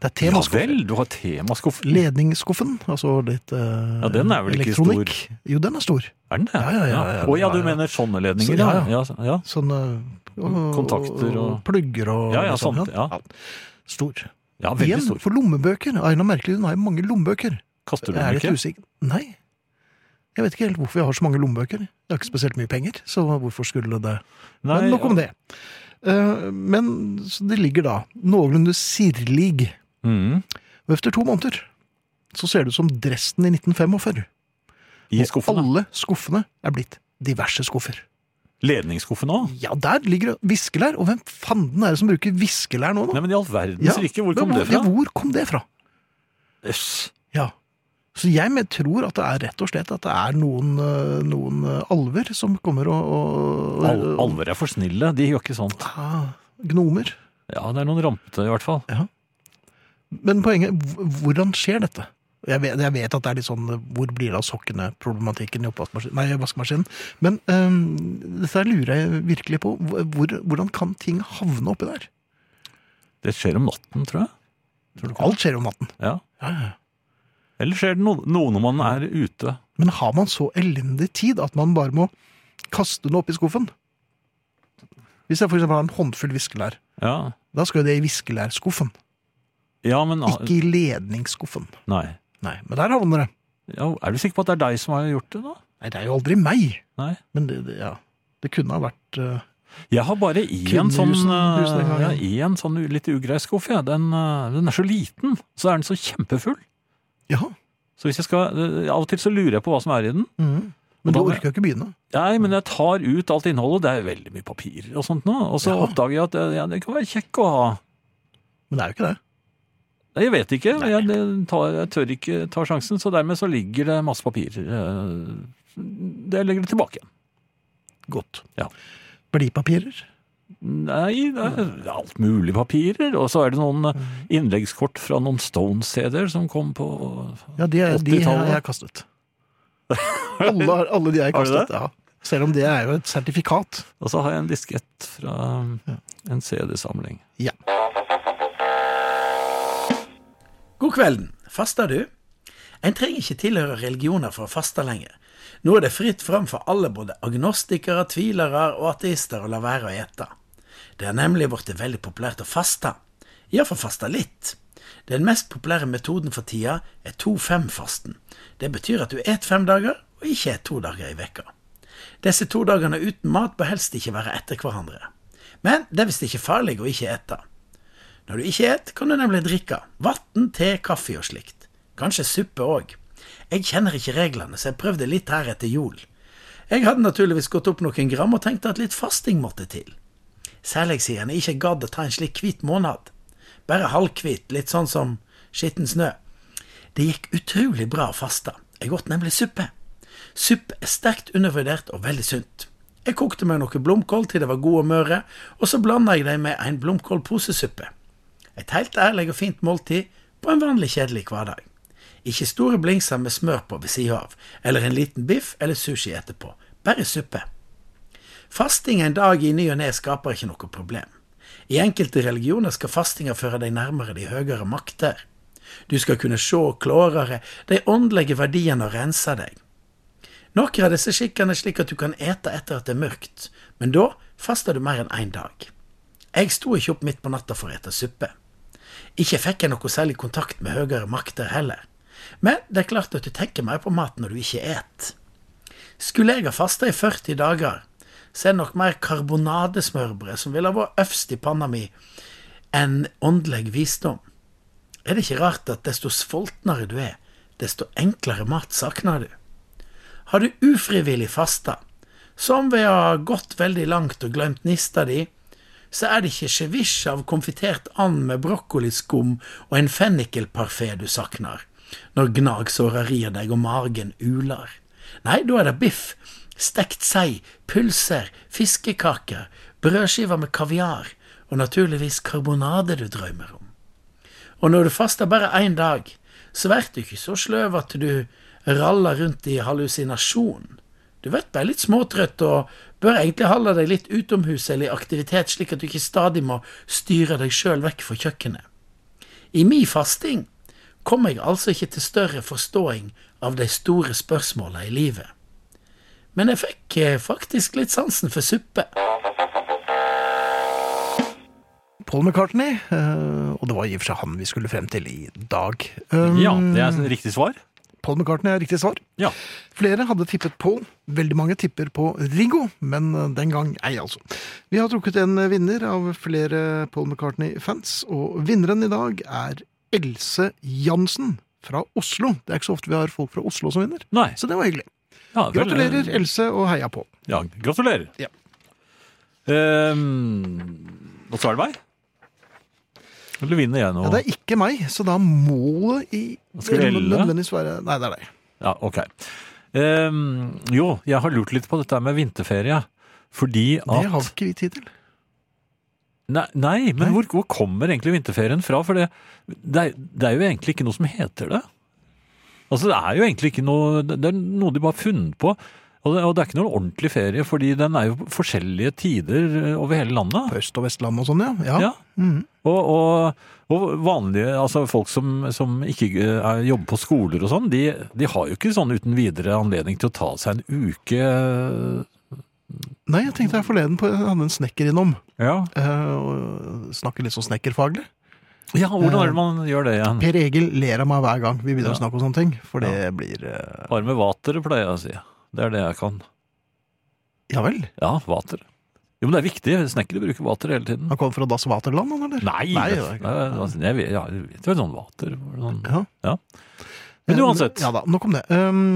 S2: Det er
S3: Ja
S2: temaskuffer.
S3: vel, du har temaskuffen.
S2: Ledningsskuffen, altså litt eh,
S3: Ja, den er vel ikke
S2: elektronikk. Jo, den er stor.
S3: Er den det?
S2: Ja, ja, ja, ja,
S3: Å
S2: ja,
S3: ja, du
S2: ja.
S3: mener sånne ledninger?
S2: Så- ja,
S3: ja. ja, ja.
S2: Sånn eh, og-
S3: Mm, Kontakter og-
S2: Plugger og
S3: Ja, ja,
S2: og sånn,
S3: sånt, ja.
S2: Stor.
S3: Ja, veldig
S2: Igjen,
S3: stor.
S2: for lommebøker. Av en eller annen merkelig grunn har jeg mange lommebøker.
S3: Kaster du
S2: Jeg er
S3: den
S2: litt
S3: ikke?
S2: usikker. Nei. Jeg vet ikke helt hvorfor jeg har så mange lommebøker. Jeg har ikke spesielt mye penger, så hvorfor skulle det
S3: Nei,
S2: Men nok om det. Eh, Men så det ligger da noenlunde sirlig.
S3: Mhm.
S2: Og efter to måneder så ser det ut som Dresden i 1945.
S3: I skuffen,
S2: Og
S3: da.
S2: alle skuffene er blitt diverse skuffer.
S3: Ledningsskuffen òg?
S2: Ja, der ligger det viskelær. Og hvem fanden er det som bruker viskelær nå, da?
S3: Nei, men i all verdens
S2: Ja,
S3: rike, hvor kom
S2: Men
S3: det fra?
S2: Ja, hvor kom det fra?
S3: Jøss.
S2: Ja. Så jeg men- tror at det er rett og slett at det er noen, eh, noen eh, alver som kommer og, og
S3: Al alver er for snille, de gjør ikke sånt.
S2: Ja, Gnomer.
S3: Ja, det er noen rampete, i hvert fall.
S2: Men poenget, hv- hvordan skjer dette? Jeg vet, jeg vet at det er litt sånn eh, hvor blir det av sokkene-problematikken i oppvaskmaskinen, nei, vaskemaskinen. Men ehm, eh, dette her lurer jeg virkelig på. Hvor, hvordan kan ting havne oppi der?
S3: Det skjer om natten, tror jeg. Tror du ikke?
S2: Alt skjer om natten.
S3: Ja. Eller skjer det no- noe når man er ute?
S2: Men har man så elendig tid at man bare må kaste den opp i skuffen? Hvis jeg for eksempel har en håndfull viskelær,
S3: Ja,
S2: da skal jo det i viskelærskuffen,
S3: ja men
S2: ikke i ledningsskuffen.
S3: Nei.
S2: Nei, men der havner det.
S3: Ja, er du sikker på at det er deg som har gjort det, da?
S2: Nei, det er jo aldri meg.
S3: Nei.
S2: Men det, det, ja. det kunne ha vært eh,
S3: Jeg har bare én sånn,
S2: Kvinnehusen- husen en gang,
S3: ja,
S2: ja.
S3: en sånn u- litt ugrei skuff. Ja. Den, eh, den er så liten, så er den så kjempefull.
S2: Ja.
S3: Så hvis jeg skal, eh, Av og til så lurer jeg på hva som er i den.
S2: mhm. Men du
S3: Hvordan-
S2: orker jo ikke begynne.
S3: Nei, men jeg tar ut alt innholdet. Det er veldig mye papirer og sånt nå. Og så
S2: Ja.
S3: oppdager jeg at eh, ja, det kan være kjekk å ha.
S2: Men det er jo ikke det.
S3: Nei, Jeg vet ikke.
S2: Nei.
S3: Jeg, det tar, jeg tør ikke ta sjansen, så dermed så ligger det masse papirer. eh, Det legger det tilbake igjen.
S2: Godt.
S3: Ja.
S2: Blipapirer.
S3: Nei, det er alt mulig papirer. Og så er det noen eh, innleggskort fra noen Stones-CD-er som kom på
S2: Ja, de, er- de
S3: 80-tallet.
S2: har jeg kastet. Alle, alle de har jeg
S3: Har du
S2: kastet, ja. Selv om det er jo et sertifikat.
S3: Og så har jeg en diskett fra en CD-samling.
S2: Ja.
S4: God kvelden. Faster du? En trenger ikke tilhøre religioner for å faste lenger. Nå er det fritt fram for alle, både agnostikere, tvilere og ateister, å la være å ete. Det er nemlig blitt veldig populært å faste. Iallfall faste litt. Den mest populære metoden for tida er 2-5-fasten. Det betyr at du et fem dager, og ikke et to dager i vekka. Disse to dagene uten mat bør helst ikke være etter hverandre. Men det er visst ikke farlig å ikke ete. Når du ikke et, kan du nemlig drikke vann, te, kaffe og slikt. Kanskje suppe òg. Jeg kjenner ikke reglene, så jeg prøvde litt her etter jul. Jeg hadde naturligvis gått opp noen gram og tenkte at litt fasting måtte til. Særlig siden jeg ikke gadd å ta en slik hvit måned. Bare halvhvit, litt sånn som skitten snø. Det gikk utrolig bra å faste. Jeg åt nemlig suppe. Suppe er sterkt undervurdert og veldig sunt. Jeg kokte meg noe blomkål til det var gode og møre, og så blanda jeg dem med en blomkålposesuppe. Et helt ærlig og fint måltid på en vanlig kjedelig hverdag. Ikke store blingser med smør på ved sida av, eller en liten biff eller sushi etterpå. Bare suppe. Fasting en dag i ny og ne skaper ikke noe problem. I enkelte religioner skal fastinga føre deg nærmere de høyere makter. Du skal kunne sjå klårere de åndelige verdiene og rense deg. Noen av disse skikkene er slik at du kan ete etter at det er mørkt, men da faster du mer enn én dag. Jeg sto ikke opp midt på natta for å ete suppe. Ikke fikk jeg noe særlig kontakt med høyere makter heller. Men det er klart at du tenker mer på mat når du ikke et. Skulle jeg ha fasta i 40 dager, så er det nok mer karbonadesmørbrød som ville ha vært øverst i panna mi, enn åndelig visdom. Er det ikke rart at desto sultnere du er, desto enklere mat savner du? Har du ufrivillig fasta, som ved å ha gått veldig langt og glemt nista di, så er det ikke sjevisj av konfitert and med brokkoliskum og en fennikelparfé du savner, når gnagsåra rir deg og magen uler. Nei, da er det biff, stekt sei, pølser, fiskekaker, brødskiver med kaviar og naturligvis karbonade du drømmer om. Og når du faster bare én dag, så blir du ikke så sløv at du raller rundt i hallusinasjon. Du blir bare litt småtrøtt og bør egentlig holde deg litt utomhus eller i aktivitet, slik at du ikke stadig må styre deg sjøl vekk fra kjøkkenet. I mi fasting kom jeg altså ikke til større forståing av de store spørsmåla i livet. Men jeg fikk eh, faktisk litt sansen for suppe.
S2: Paul McCartney, eh, og det var i og for seg han vi skulle frem til i dag. Um,
S3: Ja, det er et riktig svar.
S2: Paul McCartney er riktig svar.
S3: Mm. Ja.
S2: Flere hadde tippet Paul. Veldig mange tipper på Ringo, men eh, den gang ei, altså. Vi har trukket en vinner av flere Paul McCartney-fans, og vinneren i dag er Else Jansen fra Oslo. Det er ikke så ofte vi har folk fra Oslo som vinner,
S3: Nei.
S2: så det var hyggelig.
S3: Ja, vel,
S2: Gratulerer, Else, og heia på.
S3: Ja, gratulerer.
S2: Ja.
S3: Ehm, og så er det meg. Eller vinner jeg nå?
S2: Ja, det er ikke meg, så da må det i
S3: Skal vi helle?
S2: nødvendigvis være Nei, det er deg.
S3: Ja, ok. Ehm, jo, jeg har lurt litt på dette med vinterferie. Fordi at
S2: Det har ikke vi tid til.
S3: Nei, nei men
S2: Nei.
S3: Hvor, hvor kommer egentlig vinterferien fra? For det, det, er, det er jo egentlig ikke noe som heter det. Altså, Det er jo egentlig ikke noe Det det er noe de bare har funnet på. Og det, og det er ikke noen ordentlig ferie, fordi den er jo på forskjellige tider eh, over hele landet.
S2: På Øst- og Vestlandet og sånn, ja. ja.
S3: Ja. Og, og, og vanlige, altså folk som, som ikke eh, er, jobber på skoler og sånn, de, de har jo ikke sånn uten videre anledning til å ta seg en uke eh,
S2: Nei, jeg tenkte her forleden på jeg hadde en snekker innom.
S3: Ja,
S2: eh, og snakker litt sånn snekkerfaglig.
S3: ja hvordan
S2: Eh,
S3: er det man gjør det igjen?
S2: Per Egil ler av meg hver gang vi begynner
S3: Ja.
S2: å snakke om sånne ting. For det blir eh,
S3: Bare med vatere, pleier jeg å si. Det er det jeg kan.
S2: Ja vel?
S3: Ja, vater. Jo, men det er viktig. Snekkere bruker vater hele tiden.
S2: Han kom fra Das Vaterland, han, eller?
S3: Nei!
S2: Nei,
S3: det,
S2: det er ikke-
S3: altså, jeg, vet- ja, jeg vet jo sånn vater. Sånn.
S2: Ja. Eh,
S3: Ja. Men uansett.
S2: Ja da, nok om det.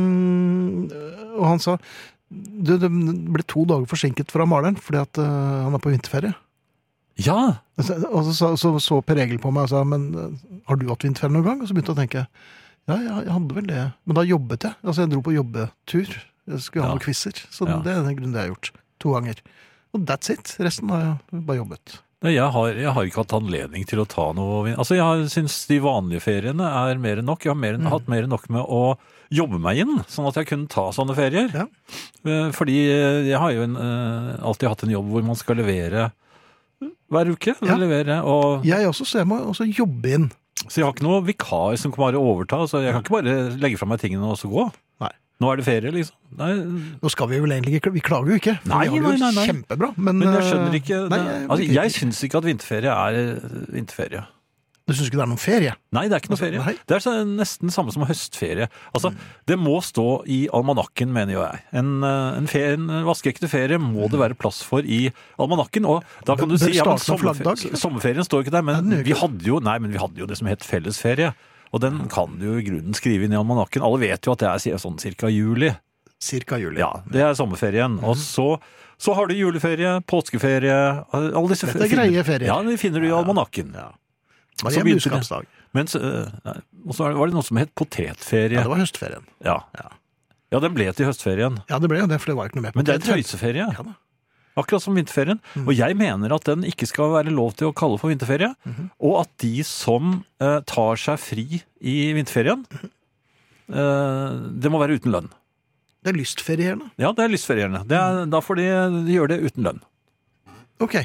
S2: Um, og han sa du, det ble to dager forsinket fra maleren fordi at eh, han er på vinterferie.
S3: Ja!
S2: Og så, og så, sa- så, så Per Egil på meg og sa men eh, har du hatt vinterferie noen gang? Og så begynte jeg å tenke ja, ja, jeg hadde vel det. Men da jobbet jeg. Altså jeg dro på jobbetur. Jeg skulle ha
S3: Ja.
S2: noen quizer. Så
S3: Ja.
S2: det er den grunnen det jeg har gjort. To ganger. Og that's it. Resten har jeg bare jobbet.
S3: Nei, Jeg har, jeg har ikke hatt anledning til å ta noe vin- Altså, Jeg syns de vanlige feriene er mer enn nok. Jeg har mer
S2: Mm.
S3: enn, hatt mer enn nok med å jobbe meg inn, sånn at jeg kunne ta sånne ferier.
S2: Ja.
S3: Eh, Fordi eh, jeg har jo en, eh, alltid hatt en jobb hvor man skal levere hver uke.
S2: Ja.
S3: Levere, og,
S2: Jeg også, så jeg må også jobbe inn.
S3: Så jeg har ikke noe vikar som kan bare overta. Så jeg kan ikke bare legge fra meg tingene og så gå.
S2: Nei.
S3: Nå er det ferie, liksom. Nei,
S2: Nå skal vi vel egentlig ikke Vi klager jo ikke. for
S3: Nei,
S2: vi har det jo
S3: nei, nei, nei.
S2: Kjempebra. Men,
S3: men jeg
S2: eh,
S3: skjønner ikke
S2: Nei,
S3: Jeg,
S2: jeg,
S3: altså, jeg syns ikke at vinterferie er eh, vinterferie.
S2: Du syns ikke det er noen ferie?
S3: Nei, det er ikke noe ferie.
S2: Altså, Nei.
S3: Det er så- nesten samme som høstferie. Altså, Det må stå i almanakken, mener jo jeg. En, eh, en, ferie, en vaskeekte ferie må det være plass for i almanakken. Og da kan du
S2: Bør- bør
S3: si ja,
S2: starte
S3: men
S2: med
S3: sommerferien,
S2: flaggdag.
S3: sommerferien står jo ikke der, men
S2: Nei, den gjør
S3: vi hadde jo, nei, men vi hadde jo det som het fellesferie. Og den kan du jo i grunnen skrive inn i almanakken. Alle vet jo at det er si- sånn cirka juli.
S2: Cirka juli.
S3: Ja, det er sommerferien.
S2: Mhm.
S3: Og så, så har du juleferie, påskeferie alle disse
S2: Dette er greie ferier.
S3: Ja, de finner du i almanakken. så
S2: Maria
S3: begynte det.
S2: Buskapsdag.
S3: Mens, øh, nei, og så er det- var det noe som het
S2: Ja,
S3: potetferie.
S2: det var høstferien.
S3: Ja.
S2: Ja.
S3: ja, den ble til høstferien.
S2: Ja, det ble jo det, for det var jo ikke noe med på
S3: Men det er
S2: det.
S3: tøyseferie,
S2: Ja Mm. da.
S3: akkurat som vinterferien. Og jeg mener at den ikke skal være lov til å kalle for vinterferie.
S2: Mhm.
S3: Og at de som eh, tar seg fri i vinterferien, eh, det må være uten lønn.
S2: Det er lystferierende.
S3: Ja, det er lystferiene. Det
S2: Mm.
S3: er, da får de gjøre det uten lønn,
S2: Ok.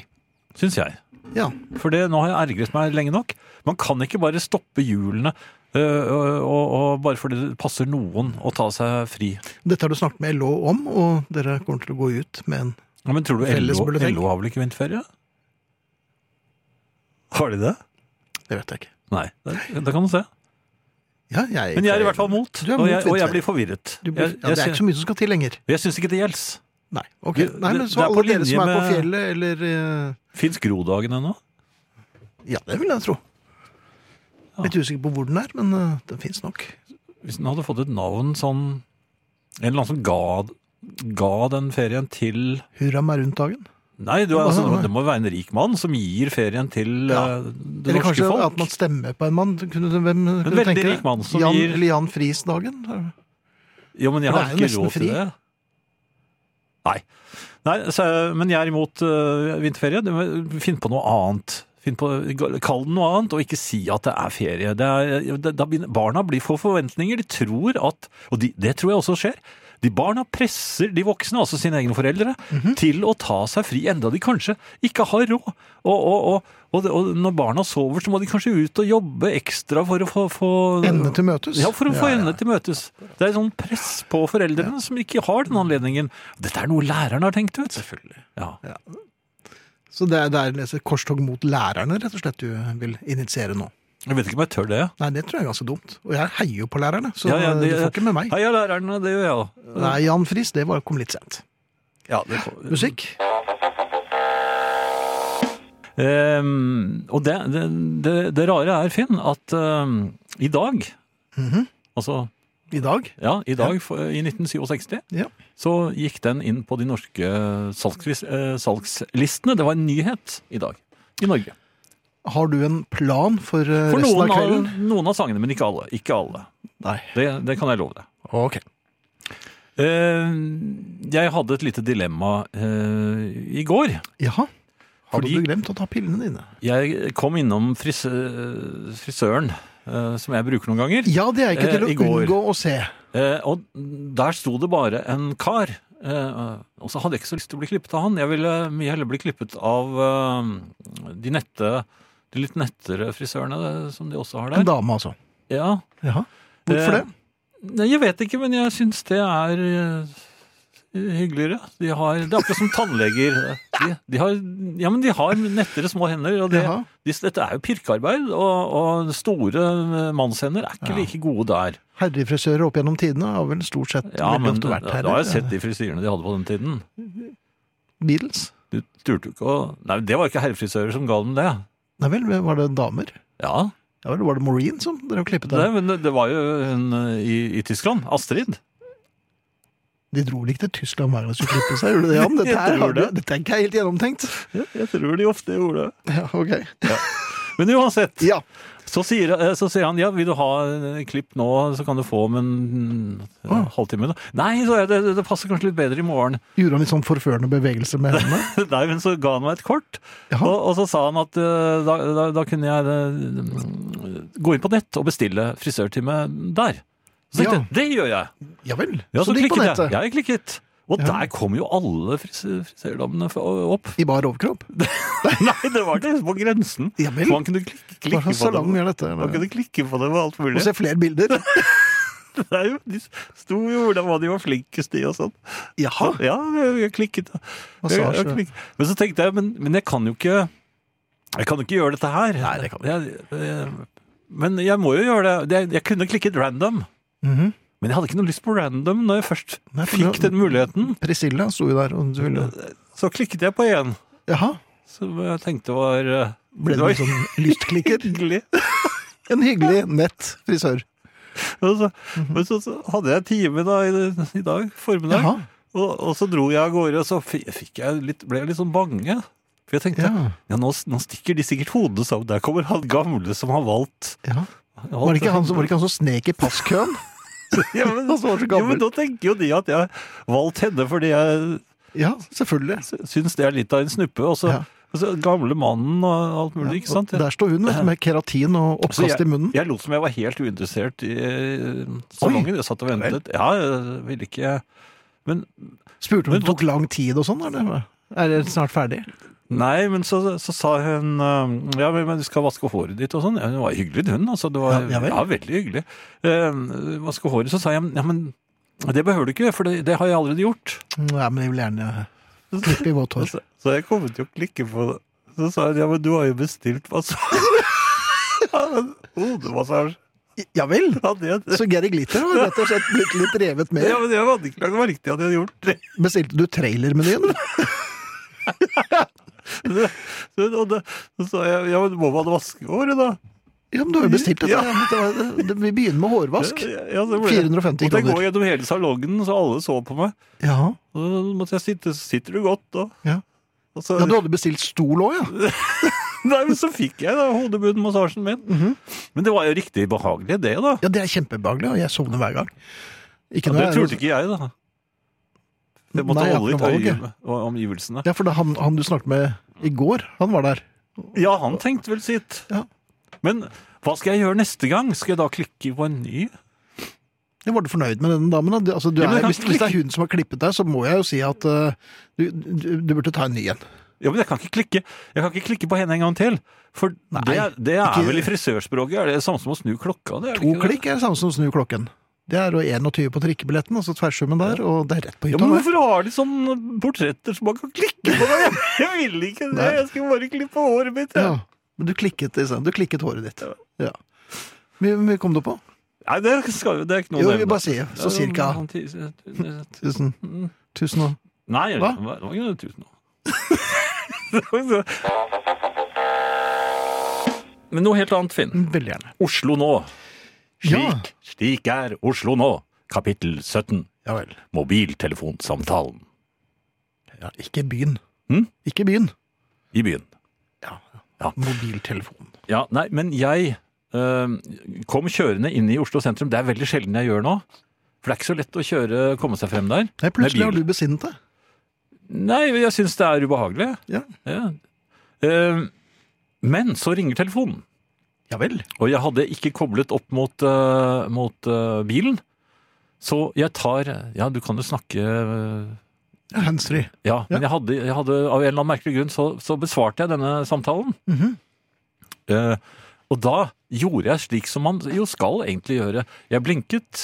S3: syns jeg.
S2: Ja.
S3: For det, nå har jeg ergret meg lenge nok. Man kan ikke bare stoppe hjulene øh, og, og, og bare fordi det passer noen å ta seg fri.
S2: Dette har du snakket med LO om, og dere kommer til å gå ut med en
S3: Ja, men tror du
S2: Felles
S3: LO,
S2: bulletin.
S3: LO har vel ikke vinterferie? Har de det?
S2: Det vet jeg ikke.
S3: Nei, det, det kan du se.
S2: Ja, jeg,
S3: Men jeg er i hvert fall mot,
S2: Du er
S3: og,
S2: mot
S3: jeg, og jeg
S2: vinterferie.
S3: blir forvirret.
S2: Du blir-
S3: Jeg,
S2: ja,
S3: jeg,
S2: Det er ikke
S3: sy-
S2: så mye som skal til lenger.
S3: jeg syns ikke det gjelder.
S2: Nei. ok.
S3: Det-
S2: Nei, men
S3: det-
S2: så
S3: det er på
S2: alle dere som
S3: linje
S2: er på
S3: med-
S2: fjellet, eller eh,
S3: Fins Grodagen ennå?
S2: Ja, det vil jeg tro. Litt usikker på hvor den er, men eh, den fins nok.
S3: Hvis den hadde fått et navn sånn En eller annen som ga, ga den ferien til
S2: Hurra meg rundt dagen.
S3: Nei, du, altså,
S2: Nei, nei.
S3: det må være en rik mann som gir ferien til
S2: Ja.
S3: eh, det
S2: Eller
S3: norske
S2: kanskje
S3: folk.
S2: at man stemmer på en mann. Kunne, du- hvem kunne du
S3: veldig
S2: tenke
S3: rik mann som
S2: Jan,
S3: gir-
S2: eller Jan Friis-dagen?
S3: Jo, men jeg
S2: For det
S3: har
S2: er jo
S3: ikke
S2: nesten
S3: råd til
S2: fri.
S3: det. Nei, Nei så, men jeg er imot øh, vinterferie. Du må Finn på noe annet. Finn på, kall det noe annet, og ikke si at det er ferie. Det er, det, da begynner, barna blir for forventninger. De tror at Og de, det tror jeg også skjer. De barna presser de voksne, altså sine egne foreldre,
S2: Mhm.
S3: til å ta seg fri, enda de kanskje ikke har råd. Og, og, og, og, det- og når barna sover, så må de kanskje ut og jobbe ekstra for å få, få
S2: Ende til møtes?
S3: ja, for å få
S2: Ja, ja.
S3: endene til møtes. Det er sånn press på foreldrene som ikke har den anledningen. Dette er noe læreren har tenkt ut. Selvfølgelig. Ja.
S2: Så det er, det er et korstog mot lærerne, rett og slett, du vil initiere nå?
S3: Jeg vet ikke om jeg tør det.
S2: Nei, det tror jeg er ganske dumt. Og jeg heier jo på lærerne, så
S3: Ja, ja, det-
S2: du får ikke med meg.
S3: Heia lærerne, det gjør jeg òg.
S2: Nei, Jan Friis, det var, kom litt sent.
S3: Ja, det-
S2: Musikk?
S3: Ehm, og det, det, det, det rare er, Finn, at ehm, i dag
S2: Mhm.
S3: Altså,
S2: I dag?
S3: ja, i dag for- i 1967
S2: Ja.
S3: så gikk den inn på de norske salgsvis- eh, salgslistene. Det var en nyhet i dag i Norge.
S2: Har du en plan for, eh,
S3: For
S2: resten
S3: noen
S2: av kvelden?
S3: av, noen av sangene, men ikke alle. Ikke alle.
S2: Nei.
S3: Det, det kan jeg love deg.
S2: Ok.
S3: Eh, jeg hadde et lite dilemma eh, i går.
S2: Jaha. Hadde
S3: Fordi-
S2: du glemt å ta pillene dine?
S3: Jeg kom innom fris eh, frisøren, eh, som jeg bruker noen ganger.
S2: Ja, det er ikke
S3: Eh,
S2: til å
S3: i går.
S2: unngå å se.
S3: Eh, og der sto det bare en kar eh, Eh, og så hadde jeg ikke så lyst til å bli klippet av han. Jeg ville mye heller bli klippet av eh, de nette, de litt nettere frisørene eh, som de også har
S2: En
S3: der.
S2: dame, altså.
S3: Ja,
S2: Jaha. Hvorfor det?
S3: Eh, Nei, jeg vet ikke, men jeg syns det er eh, hyggeligere. De har, det er akkurat som tannleger. De, de, har, ja, men de har nettere små hender. Og det,
S2: Jaha.
S3: de, dette er jo pirkearbeid, og, og store eh, mannshender er ikke like gode der.
S2: Herrefrisører opp gjennom tidene har vel stort sett
S3: Ja,
S2: veldig
S3: men
S2: ofte vært
S3: da
S2: herrer.
S3: har jeg sett de frisyrene de hadde på den tiden.
S2: Beatles.
S3: Du turte jo ikke å Nei, det var ikke herrefrisører som ga dem det.
S2: Nei vel, var det damer?
S3: Ja,
S2: Ja vel, var det Maureen som drev og klippet
S3: Nei,
S2: der?
S3: men det- det var jo en eh, i, i Tyskland. Astrid.
S2: De dro vel ikke til Tyskland hver gang de skulle klippe seg? Gjorde de det, Jan? Dette,
S3: Jeg
S2: her,
S3: tror
S2: har du,
S3: det.
S2: dette er ikke helt gjennomtenkt.
S3: Jeg tror de ofte gjorde det.
S2: Ja, ok.
S3: Men uansett,
S2: Ja.
S3: så sier, eh, så sier han ja, vil du ha eh, klipp nå, så kan du få om en eh,
S2: Ah.
S3: halvtime. Da. Nei, så jeg, det, det passer kanskje litt bedre i morgen.
S2: Gjorde han litt sånn forførende bevegelse med hendene?
S3: Nei, men så ga han meg et kort,
S2: Ja.
S3: og, og så sa han at eh, da, da, da kunne jeg eh, gå inn på nett og bestille frisørtime der. Så
S2: Ja.
S3: tenkte jeg, det gjør jeg.
S2: Ja vel.
S3: Ja, så,
S2: så det gikk på
S3: klikket jeg.
S2: nettet.
S3: Ja, jeg klikket. Og
S2: Ja.
S3: der kom jo alle fris frisørdammene f- opp.
S2: I bar overkropp?
S3: Nei, det var ikke på grensen.
S2: Ja vel.
S3: For man kunne
S2: Hva
S3: klikke, klikke
S2: slags
S3: på
S2: salong
S3: det.
S2: er dette?
S3: Man kunne klikke på det med alt mulig.
S2: Og se flere bilder?
S3: Det er jo, de sto jo hvordan var de var flinkest i og sånn.
S2: Jaha.
S3: Ja, jeg, jeg klikket. Jeg, jeg,
S2: Massasje.
S3: klikket. Men så tenkte jeg, men, men jeg kan jo ikke Jeg kan jo ikke gjøre dette her.
S2: Nei, det kan du
S3: jeg, jeg, Men jeg må jo gjøre det. det. Jeg kunne klikket random.
S2: Mhm.
S3: Men jeg hadde ikke noe lyst på random når jeg først
S2: Nei, for
S3: fikk
S2: det-
S3: den muligheten.
S2: Priscilla sto jo der, og du ville
S3: Så klikket jeg på én
S2: Jaha.
S3: som jeg tenkte var eh,
S2: Ble det
S3: var
S2: en sånn lystklikker?
S3: hyggelig.
S2: En hyggelig, nett frisør.
S3: Og så, Men så, så hadde jeg time da i, i dag, formiddag.
S2: Mhm. Jaha.
S3: Og, og så dro jeg av gårde, og så fi- fikk jeg litt, ble jeg litt sånn bange. For jeg tenkte, ja,
S2: Ja.
S3: nå, nå stikker de sikkert hodet sammen. Der kommer han gamle som har valgt.
S2: ja. Var det ikke han, som- var det ikke han som snek i passkøen?
S3: ja, men,
S2: Han som var så
S3: jo, men
S2: gammel?
S3: da tenker jo de at jeg har valgt henne fordi jeg
S2: Ja, selvfølgelig.
S3: sy- syns det er litt av en snuppe. Og så,
S2: Ja.
S3: og så gamle mannen og alt mulig, ikke sant?
S2: Og Der står hun vet du, med keratin og
S3: Så
S2: oppkast i munnen.
S3: Jeg lot som jeg var helt uinteressert i eh, salongen. Jeg satt og
S2: Ja vel.
S3: ventet. Ja, jeg ville ikke Men
S2: Spurte om
S3: Men
S2: det tok lang tid og sånn? eller? Er det snart ferdig?
S3: Nei, men så, så sa hun eh, Ja, men men du skal vaske håret ditt og sånn. Ja, det var hyggelig, hun. altså. Det var,
S2: Ja, ja
S3: ja,
S2: vel.
S3: veldig hyggelig. Eh, vaske håret. Så sa jeg ja, men det behøver du ikke, for det, det har jeg allerede gjort.
S2: Nei, men jeg vil gjerne klippe i vått hår.
S3: Så, så jeg kom til å klikke på det. Så sa hun ja, men du har jo bestilt massasje. ja, men Hodemassasje.
S2: Ja vel?
S3: Ja, det,
S2: Så Gary Glitter har rett og slett blitt litt revet med.
S3: ja, men jeg hadde ikke lagt merke til at jeg hadde gjort det.
S2: Bestilte du trailermenyen?
S3: Så, og det, så sa jeg ja, men må man vaske håret, da?
S2: Ja, men du har jo bestilt dette.
S3: Ja.
S2: Ja. men det var- det- Vi begynner med hårvask.
S3: Ja, så ble det-
S2: 450
S3: Måtte jeg gå
S2: kroner.
S3: gjennom hele salongen, så alle så på meg.
S2: Ja.
S3: Og så måtte jeg sitte, så sitter du godt da.
S2: Ja.
S3: Og så,
S2: ja, du hadde bestilt stol òg, ja?
S3: Nei, men så fikk jeg da hodebunnmassasjen min.
S2: Mhm.
S3: Men det var jo riktig behagelig det da.
S2: Ja, det er kjempebehagelig, og jeg sovner hver gang. Ikke
S3: Og
S2: når
S3: det
S2: jeg er-
S3: turte ikke jeg da. Jeg måtte
S2: altså- Nei, jeg har
S3: holde
S2: ikke
S3: litt
S2: noe valg,
S3: øye
S2: jeg.
S3: med omgivelsene.
S2: Ja, for det, er han, han du snakket med i går, han var der.
S3: Ja, han tenkte vel sitt.
S2: Ja.
S3: Men hva skal jeg gjøre neste gang? Skal jeg da klikke på en ny?
S2: Jeg var du fornøyd med denne damen? da? Du- Altså, du
S3: Ja, men
S2: er,
S3: kan
S2: hvis,
S3: ikke
S2: hvis det er
S3: klikke-
S2: hun som har klippet deg, så må jeg jo si at eh, du, du, du burde ta en ny en.
S3: Ja, men jeg kan ikke klikke, jeg kan ikke klikke på henne en gang til. For det, er- det er
S2: ikke-
S3: vel i frisørspråket, er det samme som å snu klokka? Det er det
S2: To
S3: ikke det?
S2: klikk er det samme som å snu klokken. Det er jo 21 på trikkebilletten, altså tverrsummen der, og det er rett på
S3: Ja,
S2: hytta.
S3: men
S2: der.
S3: hvorfor har de sånne portretter som man kan klikke på? Jeg, jeg vil ikke det,
S2: Nei.
S3: jeg skulle bare klippe håret mitt. jeg.
S2: ja. Men du klikket, i stedet. du klikket håret ditt. Ja. Hvor mye kom du på?
S3: Nei, det, skal, jo- det er ikke noe
S2: Jo,
S3: å
S2: vi
S3: nevne.
S2: bare sier så cirka
S3: Ja, Mm. men-
S2: 1000. Tusen og
S3: Nei, det
S2: Hva?
S3: var det var ikke noe tusen nå. Men noe helt annet, Finn.
S2: Veldig gjerne.
S3: Oslo nå.
S2: Ja.
S3: Slik, slik er Oslo nå. Kapittel 17.
S2: Ja vel.
S3: Mobiltelefonsamtalen
S2: Ja, ikke byen.
S3: Hm?
S2: Ikke byen.
S3: i byen.
S2: Mobiltelefonen.
S3: Ja, nei, men jeg eh, kom kjørende inn i Oslo sentrum. Det er veldig sjelden jeg gjør nå. For det er ikke så lett å kjøre, komme seg frem der.
S2: Nei,
S3: Med bil.
S2: plutselig har du besinnet deg.
S3: Nei, jeg syns det er ubehagelig.
S2: Ja.
S3: Ja. Eh, men så ringer telefonen.
S2: Ja vel.
S3: Og jeg hadde ikke koblet opp mot, eh, mot eh, bilen. Så jeg tar Ja, du kan jo snakke eh,
S2: Handsfree.
S3: Ja, men Jeg, hadde, jeg hadde av en eller annen merkelig grunn så, så besvarte jeg denne samtalen. Eh, og da gjorde jeg slik som man jo skal egentlig gjøre. Jeg blinket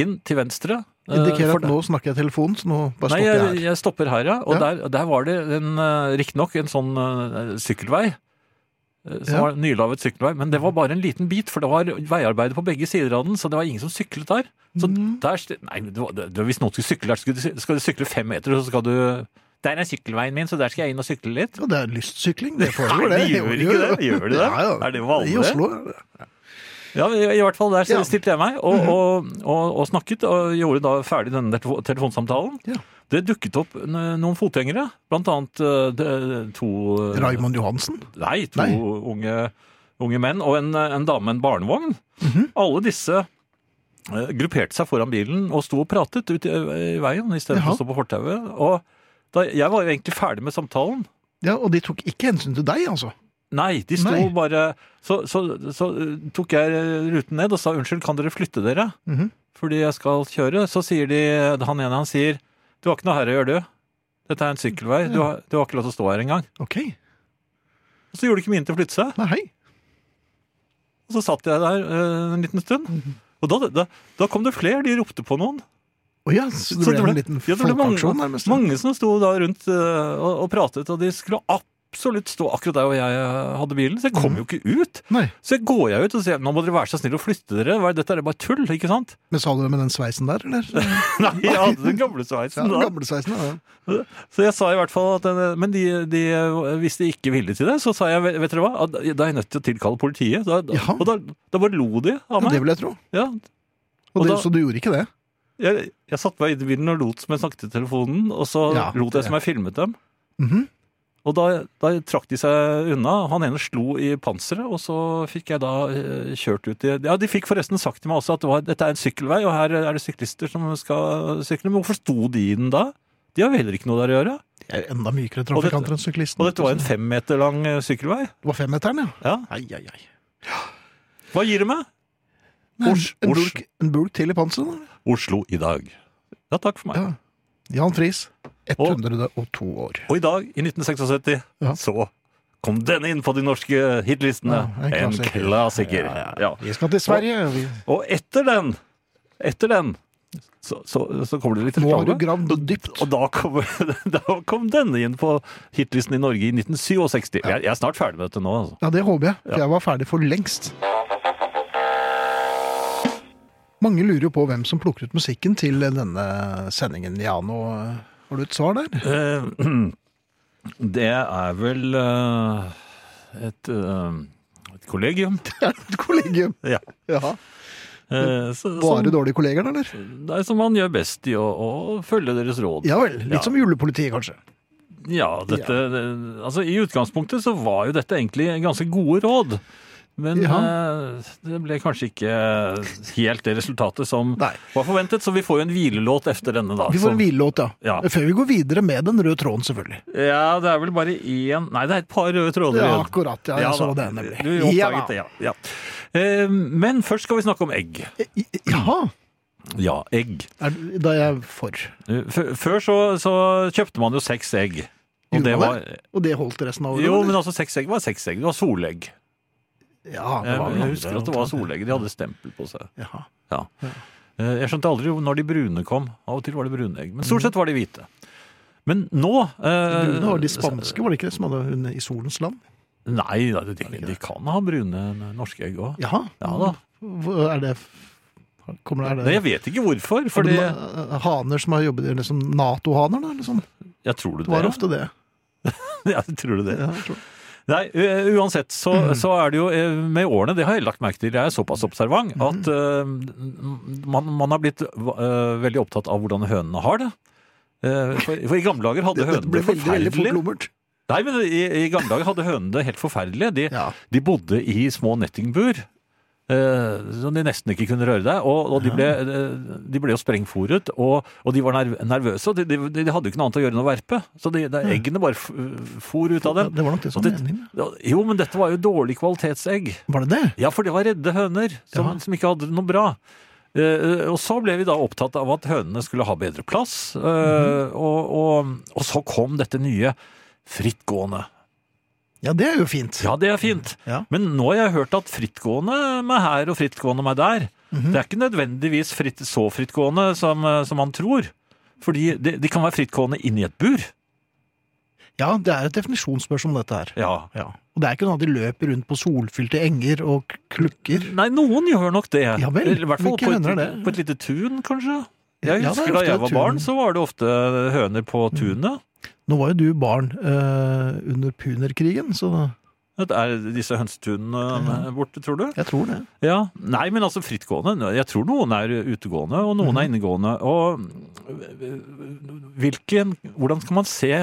S3: inn til venstre. eh,
S2: Indikerer
S3: for
S2: at nå snakker jeg i telefonen, så nå bare
S3: Nei,
S2: stopper jeg
S3: jeg,
S2: her.
S3: jeg stopper her, ja. Og
S2: Ja.
S3: Der, der var det en, eh, riktignok en sånn eh, sykkelvei. eh, Som
S2: Ja.
S3: var en Nylavet sykkelvei, men det var bare en liten bit, for det var veiarbeid på begge sider av den, så det var ingen som syklet der. Så
S2: Mm.
S3: der sti- Nei, det var, det, hvis noen skulle sykle der, skal du, skal du sykle fem meter, så skal du Der er sykkelveien min, så der skal jeg inn og sykle litt.
S2: Og det er lystsykling, det
S3: Nei,
S2: foregår,
S3: det
S2: det.
S3: gjør ikke det. Gjør det det?
S2: Ja, ja.
S3: Er det vanlig?
S2: I Oslo er det.
S3: Ja, i, i hvert fall der
S2: Ja. Mhm.
S3: stilte jeg meg og, og, og, og snakket, og gjorde da ferdig denne telefo- telefonsamtalen.
S2: Ja.
S3: Det dukket opp n- noen fotgjengere, blant annet eh, det- to eh,
S2: Raymond Johansen.
S3: Nei, to
S2: Nei.
S3: Unge, unge menn og en, en dame med en barnevogn.
S2: Mhm.
S3: Alle disse eh, grupperte seg foran bilen og sto og pratet ute i, i veien
S2: Jaha.
S3: istedenfor å stå på fortauet. Og da, jeg var jo egentlig ferdig med samtalen.
S2: Ja, og de tok ikke hensyn til deg, altså.
S3: Nei, de sto
S2: Nei.
S3: bare så, så, så eh, tok jeg ruten ned og sa unnskyld, kan dere flytte dere?
S2: Mhm.
S3: Fordi jeg skal kjøre. Så sier de, han ene han sier du har ikke noe her å gjøre, du. Dette er en sykkelvei. Du har, du har ikke lov til å stå her engang.
S2: Ok.
S3: Og så gjorde de ikke mine til å flytte seg.
S2: Nei, hei.
S3: Og så satt jeg der eh, en liten stund.
S2: Mhm.
S3: Og da, da, da kom det flere. De ropte på noen.
S2: Å ja, så det
S3: Så
S2: ble en liten
S3: ja, det ble
S2: folkeaksjon
S3: mange,
S2: nærmest.
S3: mange som sto da rundt eh, og, og pratet, og de skulle absolutt stå akkurat der hvor jeg eh, hadde bilen. Så jeg
S2: Mhm.
S3: kom jo ikke ut.
S2: Nei,
S3: Så jeg går jeg ut og sier nå må dere være så snill å flytte dere. Hva er Dette er bare tull, ikke sant?
S2: men sa du det med den sveisen der, eller?
S3: Nei, jeg hadde den gamle
S2: Ja,
S3: sveisen
S2: den
S3: da.
S2: gamle sveisen, ja.
S3: Så jeg sa i hvert fall at den, Men de, de, hvis de ikke ville til det, så sa jeg vet dere hva, at da er jeg nødt til å tilkalle politiet. Da, da,
S2: Jaha.
S3: og da, da bare lo de av
S2: ja. Det
S3: meg.
S2: vil jeg tro.
S3: Ja,
S2: Og
S3: Og
S2: det,
S3: da-
S2: så du gjorde ikke det?
S3: jeg, jeg satte meg inn i bilen og lot som jeg snakket i telefonen, og så
S2: Ja,
S3: lot jeg som jeg filmet dem. Og da, da trakk de seg unna. Han ene slo i panseret, og så fikk jeg da eh, kjørt ut i Ja, de fikk forresten sagt til meg også at det var, dette er en sykkelvei, og her er det syklister som skal sykle. Men hvorfor sto de i den da? De har jo heller ikke noe der å gjøre.
S2: De er enda mykere
S3: Og dette-
S2: trafikanter enn syklisten.
S3: Og dette var en fem meter lang eh, sykkelvei.
S2: Det var femmeteren, ja.
S3: Ja.
S2: Ai, ai, ai.
S3: Hva gir det meg?
S2: Nei,
S3: Ors-
S2: en,
S3: Ors-
S2: bulk, en bulk til i panseret. da.
S3: Oslo i dag. Ja, takk for meg.
S2: Ja. Jan Friis, 102 år.
S3: Og i dag, i 1976,
S2: Ja.
S3: så kom den inn på de norske hitlistene.
S2: Ja, en
S3: en
S2: klassiker.
S3: klassiker. Ja.
S2: Vi skal til Sverige. Vi...
S3: Og etter den, etter den, så, så, så kommer det litt
S2: Nå har du
S3: reklame.
S2: gravd dypt.
S3: Og da kom, da kom denne inn på hitlisten i Norge i 1967. Jeg, jeg er snart ferdig med dette nå, altså.
S2: Ja, det håper jeg, for jeg var ferdig for lengst. Mange lurer jo på hvem som plukker ut musikken til denne sendingen, Jan. Og har du et svar der?
S3: Eh, Det er vel eh, et, eh, et kollegium.
S2: Et kollegium.
S3: Ja. Mm.
S2: Ja.
S3: Eh, så,
S2: Bare
S3: som,
S2: dårlige kolleger, eller?
S3: det er som man gjør best i å, å følge deres råd.
S2: Ja vel.
S3: Ja.
S2: Litt som julepolitiet, kanskje.
S3: Ja, dette, altså I utgangspunktet så var jo dette egentlig ganske gode råd. Men eh, det ble kanskje ikke helt det resultatet som
S2: Nei.
S3: var forventet, så vi får jo en hvilelåt efter denne, da.
S2: Vi får
S3: som-
S2: en hvilelåt, ja.
S3: Ja.
S2: Før vi går videre med den røde tråden, selvfølgelig.
S3: Ja, det er vel bare én Nei, det er et par røde tråder
S2: Ja,
S3: igjen.
S2: akkurat. Ja, jeg så
S3: da.
S2: det, nemlig.
S3: Du
S2: Ja,
S3: oppdaget
S2: da.
S3: det, ja. ja. Eh, Men først skal vi snakke om egg.
S2: I- i- Jaha.
S3: Ja, egg.
S2: Er, du- da er jeg for.
S3: Eh, f- Før så, så kjøpte man jo seks egg. Og
S2: Gjorde
S3: det
S2: man
S3: var,
S2: det? Og det holdt resten av året?
S3: jo,
S2: eller?
S3: men altså seks egg var seks egg. Det var solegg.
S2: ja, det
S3: Jeg,
S2: var vel
S3: jeg
S2: andre
S3: husker at det var solegg. De hadde stempel på seg.
S2: Jaha.
S3: Ja. Eh, Jeg skjønte aldri når de brune kom. Av og til var det brune egg, men stort sett var de hvite. Men nå eh,
S2: Brune var de spanske, var det ikke det, som hadde hun i Solens land?
S3: Nei, nei, de, de kan ha brune norske egg òg.
S2: Jaha.
S3: Ja da.
S2: Hva- Er det Kommer det,
S3: Nei,
S2: er
S3: jeg
S2: det
S3: vet ikke hvorfor,
S2: fordi...
S3: fordi
S2: eh, haner som har jobbet eller som Nato-haner, da? Liksom.
S3: Jeg tror du
S2: Det var
S3: det.
S2: ofte det.
S3: Ja, tror du det.
S2: Ja, jeg tror- Mm.
S3: Nei, u- eh, uansett så, så er det jo eh, med årene, det har jeg lagt merke til, jeg er såpass observant,
S2: Mm.
S3: at eh, man, man har blitt eh, veldig opptatt av hvordan hønene har det. Eh, for, for i gamle dager hadde
S2: Dette
S3: hønene
S2: ble
S3: det
S2: veldig, veldig fort
S3: forferdelig.
S2: lummert.
S3: Nei, men i, i gamle dager hadde hønene det helt forferdelig. De,
S2: Ja.
S3: de bodde i små nettingbur. eh, Som de nesten ikke kunne røre deg. Og, og de, ble, eh, de ble jo sprengfòret, og, og de var nerv- nervøse. Og de, de, de hadde jo ikke noe annet å gjøre enn å verpe. Så de, de, eggene bare f- for ut av
S2: Ja,
S3: dem.
S2: det var nok det som
S3: Og
S2: var
S3: det-
S2: meningen.
S3: Ja, Jo, men dette var jo dårlig kvalitetsegg.
S2: Var det det?
S3: Ja, for det var redde høner som,
S2: Ja.
S3: som ikke hadde det noe bra. Eh, og så ble vi da opptatt av at hønene skulle ha bedre plass, eh, og, og, og så kom dette nye frittgående.
S2: Ja, det er jo fint.
S3: Ja, det er fint.
S2: Ja.
S3: Men nå har jeg hørt at frittgående meg her og frittgående meg der.
S2: Mhm.
S3: Det er ikke nødvendigvis fritt, så frittgående som, eh, som man tror. Fordi de, de kan være frittgående inni et bur.
S2: Ja, det er et definisjonsspørsmål, dette her.
S3: Ja.
S2: Ja. Og det er ikke noe at de løper rundt på solfylte enger og klukker.
S3: Nei, noen gjør nok det.
S2: Ja vel,
S3: I hvert fall
S2: hvilke
S3: på
S2: høner er
S3: et,
S2: det?
S3: på et lite tun, kanskje.
S2: Ja,
S3: Jeg
S2: det er
S3: husker da
S2: ofte
S3: jeg
S2: et
S3: var
S2: tun. Mm.
S3: barn, så var det ofte høner på tunet.
S2: Nå var jo du barn eh, under punerkrigen, så
S3: Det Er disse hønsetunene eh, borte, tror du?
S2: jeg tror det.
S3: Ja, Nei, men altså frittgående. Jeg tror noen er utegående, og noen
S2: Mhm.
S3: er innegående. Og hvilken, hvordan skal man se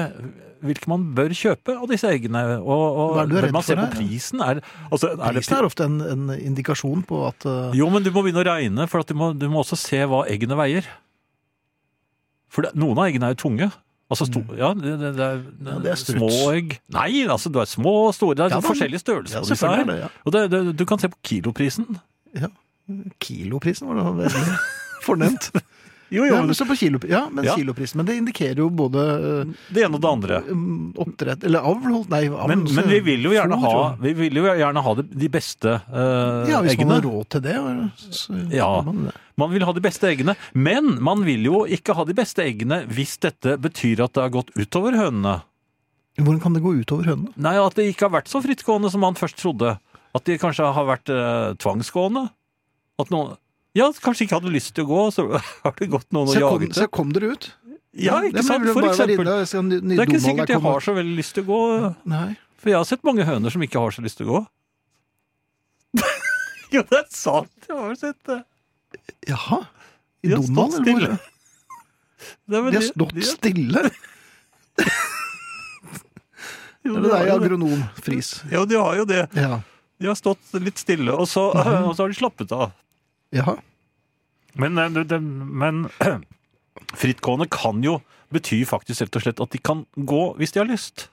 S3: hvilke man bør kjøpe av disse eggene? Og, og
S2: Hva er du
S3: bør
S2: redd
S3: man se
S2: for
S3: på
S2: her?
S3: prisen? Er, altså, er det,
S2: Prisen er ofte en, en indikasjon på at eh,
S3: jo, men du må begynne å regne, for at du, må, du må også se hva eggene veier. For det, noen av eggene er jo tunge. Altså, sto, ja, det, det, det er,
S2: Mm. Ja, det er struts.
S3: små egg. Nei, altså, du er små og store. Det er
S2: Ja, men-
S3: forskjellige størrelser
S2: Ja,
S3: på disse
S2: selvfølgelig er
S3: her.
S2: det. Ja.
S3: Og det, det, du kan se på kiloprisen.
S2: Kiloprisen var da veldig fornemt.
S3: Jo,
S2: Ja, men, så på kilo, ja, men
S3: Ja.
S2: kiloprisen. Men det indikerer jo både eh,
S3: Det ene og det andre.
S2: um, oppdrett Eller avl, holdt Nei, avl.
S3: Men,
S2: så-
S3: men vi vil jo gjerne ha,
S2: fôr, og-
S3: vi vil jo gjerne ha de, de beste eh,
S2: Ja, hvis man
S3: eggene.
S2: har råd til det. Så,
S3: Ja.
S2: gjør man det.
S3: Man vil ha de beste eggene, men man vil jo ikke ha de beste eggene hvis dette betyr at det har gått utover hønene.
S2: Hvordan kan det gå utover hønene?
S3: Nei, at det ikke har vært så frittgående som man først trodde. At de kanskje har vært eh, tvangsgående. At noen ja, kanskje ikke hadde lyst til å gå, så har det gått noen og
S2: Så kom,
S3: jaget det.
S2: så kom dere ut?
S3: Ja,
S2: det
S3: ikke sant, for eksempel. Det er ikke sikkert jeg har så veldig lyst til å gå,
S2: Nei.
S3: for jeg har sett mange høner som ikke har så lyst til å gå. jo, det er sant, jeg har jo sett det.
S2: Jaha. I
S3: De har
S2: Donald,
S3: stått
S2: eller hvor?
S3: stille. Det er vel
S2: De har
S3: det-
S2: stått
S3: de-
S2: stille?
S3: jo,
S2: Det
S3: har
S2: er
S3: jo det.
S2: agronomfris.
S3: Ja, de har jo det.
S2: Ja.
S3: De har stått litt stille, og så,
S2: Mhm.
S3: og så har de slappet av.
S2: Jaha.
S3: Men, eh, du, den- men frittgående kan jo bety faktisk rett og slett at de kan gå hvis de har lyst.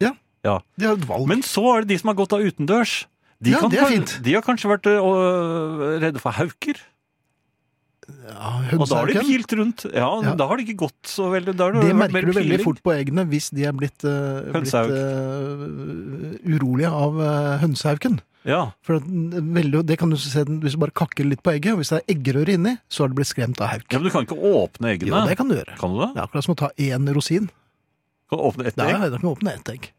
S2: De har et valg.
S3: Men så er det de som har gått av utendørs. De,
S2: Ja,
S3: kan,
S2: det er
S3: kan-
S2: fint.
S3: de har kanskje vært øh, redde for hauker,
S2: ja,
S3: og da har de
S2: hønsehauken.
S3: pilt rundt. Ja,
S2: Ja.
S3: Da har de ikke gått så veldig. Da har
S2: Det
S3: vært mer
S2: merker du veldig
S3: piling.
S2: fort på eggene hvis de er blitt, eh, blitt
S3: Hønsehauk.
S2: eh, urolige av eh, hønsehauken.
S3: Ja,
S2: For at, den- veldig, det kan du se den, Hvis du bare kakker litt på egget, og hvis det er eggerøre inni, så har det blitt skremt av hauk.
S3: ja, men du kan ikke åpne eggene.
S2: Jo, det kan du gjøre.
S3: Kan du det?
S2: Det er akkurat som å ta én rosin.
S3: Kan du åpne ett
S2: Nei,
S3: egg?
S2: det er ikke noe å åpne ett egg.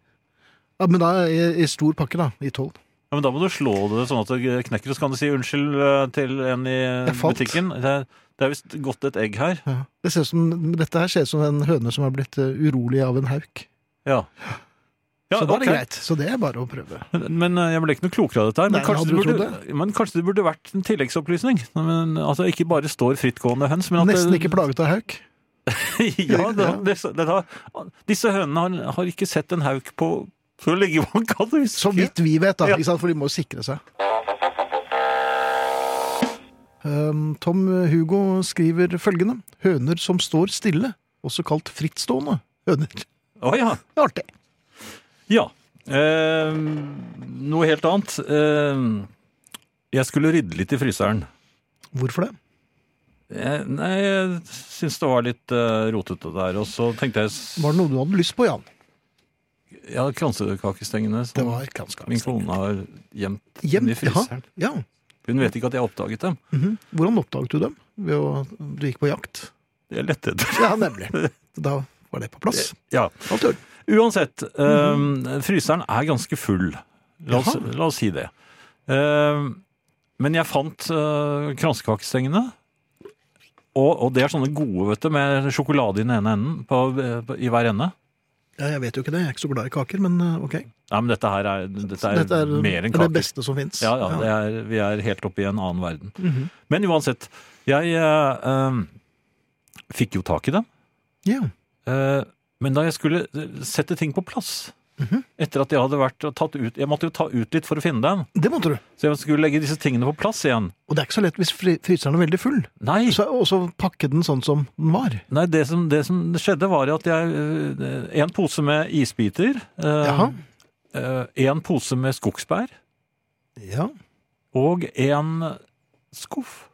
S2: Ja, men da i, i stor pakke, da. I tolv.
S3: Ja, men da må du slå det sånn at det knekker, og så kan du si unnskyld eh, til en i
S2: Jeg falt.
S3: butikken. Det er, det er visst gått et egg her.
S2: Ja. Det ser ut som, dette her ser ut som en høne som har blitt eh, urolig av en hauk.
S3: Ja. Ja,
S2: så da er det
S3: ok.
S2: greit. Så det er bare å prøve.
S3: Men, men eh, jeg ble ikke noe klokere av dette her. Men,
S2: Nei,
S3: kanskje,
S2: hadde
S3: det
S2: du
S3: burde, men kanskje det burde vært en tilleggsopplysning. Men, altså, ikke bare står frittgående høns, men at
S2: Nesten ikke plaget av hauk.
S3: ja, det, det, det, har- disse hønene har, har ikke sett en hauk på så lenge man kan huske.
S2: Så vidt vi vet, da,
S3: Ja.
S2: ikke sant? for de må jo sikre seg. Um, Tom Hugo skriver følgende. Høner som står stille, også kalt frittstående høner.
S3: Å ja.
S2: Det er artig.
S3: Ja. Eh, noe helt annet. Eh, jeg skulle rydde litt i fryseren.
S2: Hvorfor det?
S3: Eh, Nei, jeg syns det var litt eh, rotete der. Og så tenkte jeg s-
S2: Var det noe du hadde lyst på, Jan?
S3: Ja, kransekakestengene
S2: Det
S3: som
S2: var ganske
S3: min kone har gjemt
S2: Hjem,
S3: inni fryseren.
S2: Ja. ja.
S3: Hun vet ikke at jeg oppdaget dem.
S2: Mhm. Hvordan oppdaget du dem? Ved å, du gikk på jakt?
S3: Jeg lette etter
S2: Ja, nemlig. Da var det på plass.
S3: Ja.
S2: Alt i orden.
S3: Uansett, eh, fryseren er ganske full. La oss,
S2: Mhm. Jaha.
S3: la oss si det. Eh, men jeg fant eh, kransekakestengene. Og, og det er sånne gode, vet du, med sjokolade i den ene enden på, på, i hver ende.
S2: Ja, jeg vet jo ikke det, jeg er ikke så glad i kaker, men eh, ok.
S3: Nei, men dette her er, dette er,
S2: Dette er,
S3: mer enn
S2: det
S3: kaker.
S2: beste som fins.
S3: Ja, ja, det er, vi er helt oppe i en annen verden.
S2: Mhm.
S3: Men uansett, jeg eh, eh, fikk jo tak i dem.
S2: Ja.
S3: Eh, men da jeg skulle eh, sette ting på plass,
S2: Mhm.
S3: etter at jeg hadde vært og tatt ut Jeg måtte jo ta ut litt for å finne dem.
S2: Det måtte du.
S3: Så jeg skulle legge disse tingene på plass igjen.
S2: Og det er ikke så lett hvis fry- fryseren er veldig full.
S3: Nei,
S2: Så, og så pakke den sånn som den var.
S3: nei det, som, det som skjedde, var at jeg eh, En pose med isbiter. eh,
S2: Jaha.
S3: eh, en pose med skogsbær.
S2: Ja.
S3: Og en skuff.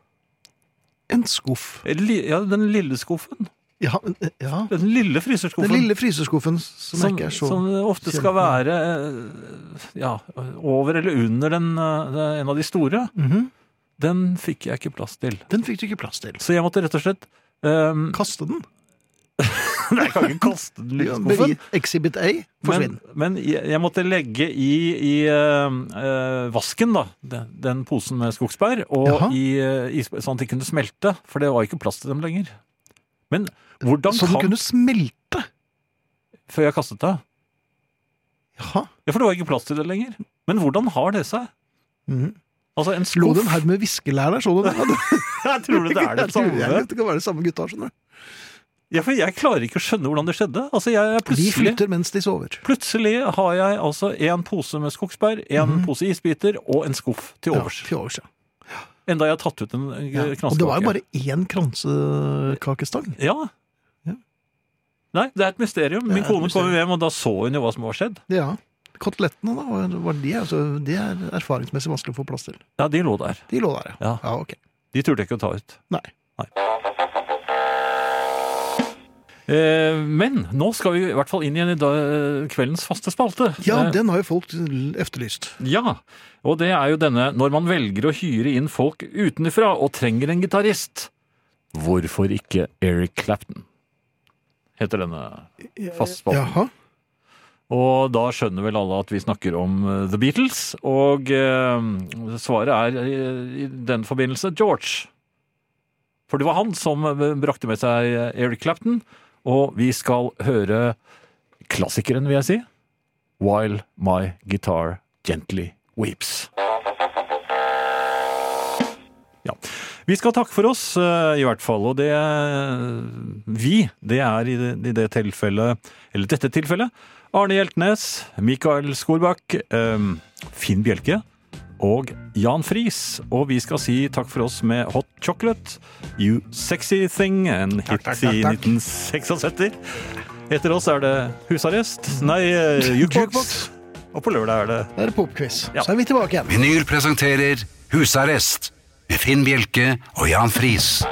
S2: en skuff.
S3: Li- Ja, den lille skuffen.
S2: Ja, men, eh, ja.
S3: Den lille
S2: Den
S3: fryserskuffen.
S2: lille fryseskuffen som, jeg
S3: som,
S2: ikke er så
S3: som ofte
S2: kjent
S3: skal
S2: med.
S3: være eh, ja, over eller under den, eh, en av de store.
S2: Mhm.
S3: Den fikk jeg ikke plass til.
S2: Den fikk du ikke plass til.
S3: Så jeg måtte rett og slett ehm,
S2: Kaste den.
S3: Nei, jeg kan ikke kaste den lille
S2: Ja,
S3: skuffen.
S2: beri- Exhibit A. Forsvinn.
S3: Men, men jeg jeg måtte legge i, i eh, eh, vasken, da, den, den posen med skogsbær, og
S2: Jaha.
S3: i, eh, is- sånn at de kunne smelte, for det var ikke plass til dem lenger. Men hvordan
S2: Så den
S3: kan
S2: kunne smelte.
S3: Før jeg kastet det?
S2: Jaha.
S3: Ja, for det var ikke plass til det lenger. Men hvordan har det seg?
S2: Mhm.
S3: Altså, en
S2: Lå
S3: skuff
S2: den her med viskelær der, så du det? Ja, det-
S3: Jeg tror det er det
S2: Jeg tror
S3: samme.
S2: jeg- Det kan være det samme gutta, skjønner du.
S3: Ja, for jeg klarer ikke å skjønne hvordan det skjedde. Altså, jeg er
S2: De
S3: plutselig...
S2: flytter mens de sover.
S3: Plutselig har jeg altså en pose med skogsbær, en
S2: Mhm.
S3: pose isbiter og en skuff til
S2: Ja,
S3: overs.
S2: til overs, ja.
S3: Enda jeg har tatt ut en eh,
S2: Ja.
S3: knaskake.
S2: Og det var jo bare én kransekakestang.
S3: Ja.
S2: Ja.
S3: Nei, det er et mysterium.
S2: Det er
S3: Min
S2: et
S3: kone
S2: mysterium.
S3: kom hjem, og da så hun jo hva som var skjedd.
S2: Ja. Kotelettene, da, var- var de, altså, de er erfaringsmessig vanskelig å få plass til.
S3: Ja, de lå der.
S2: De lå der,
S3: Ja.
S2: ja ok.
S3: De turte ikke å ta ut.
S2: Nei.
S3: Eh, men nå skal vi i hvert fall inn igjen i da, kveldens faste spalte.
S2: Ja,
S3: Eh,
S2: den har jo folk efterlyst.
S3: Ja, og det er jo denne når man velger å hyre inn folk utenfra og trenger en gitarist. Hvorfor ikke Eric Clapton? Heter denne fastspalten.
S2: Jaha.
S3: Og da skjønner vel alle at vi snakker om eh, The Beatles, og eh, svaret er eh, i den forbindelse George. For det var han som eh, brakte med seg eh, Eric Clapton, og vi skal høre klassikeren, vil jeg si, While My Guitar Gently Weeps. Ja. Vi skal takke for oss, eh, i hvert fall. Og det eh, Vi, det er i det, i det tilfellet Eller dette tilfellet Arne Hjeltnes, Mikael Skorbakk, eh, Finn Bjelke og Jan Friis. Og vi skal si takk for oss med Hot Chocolate, You Sexy Thing, en hit
S2: takk,
S3: i
S2: takk, takk.
S3: 1976. Etter oss er det husarrest, nei, eh, jukebox. Og på lørdag er det
S2: Da er det popquiz.
S3: Ja.
S2: Så er vi tilbake igjen.
S1: Vinyl presenterer Husarrest med Finn Bjelke og Jan Friis.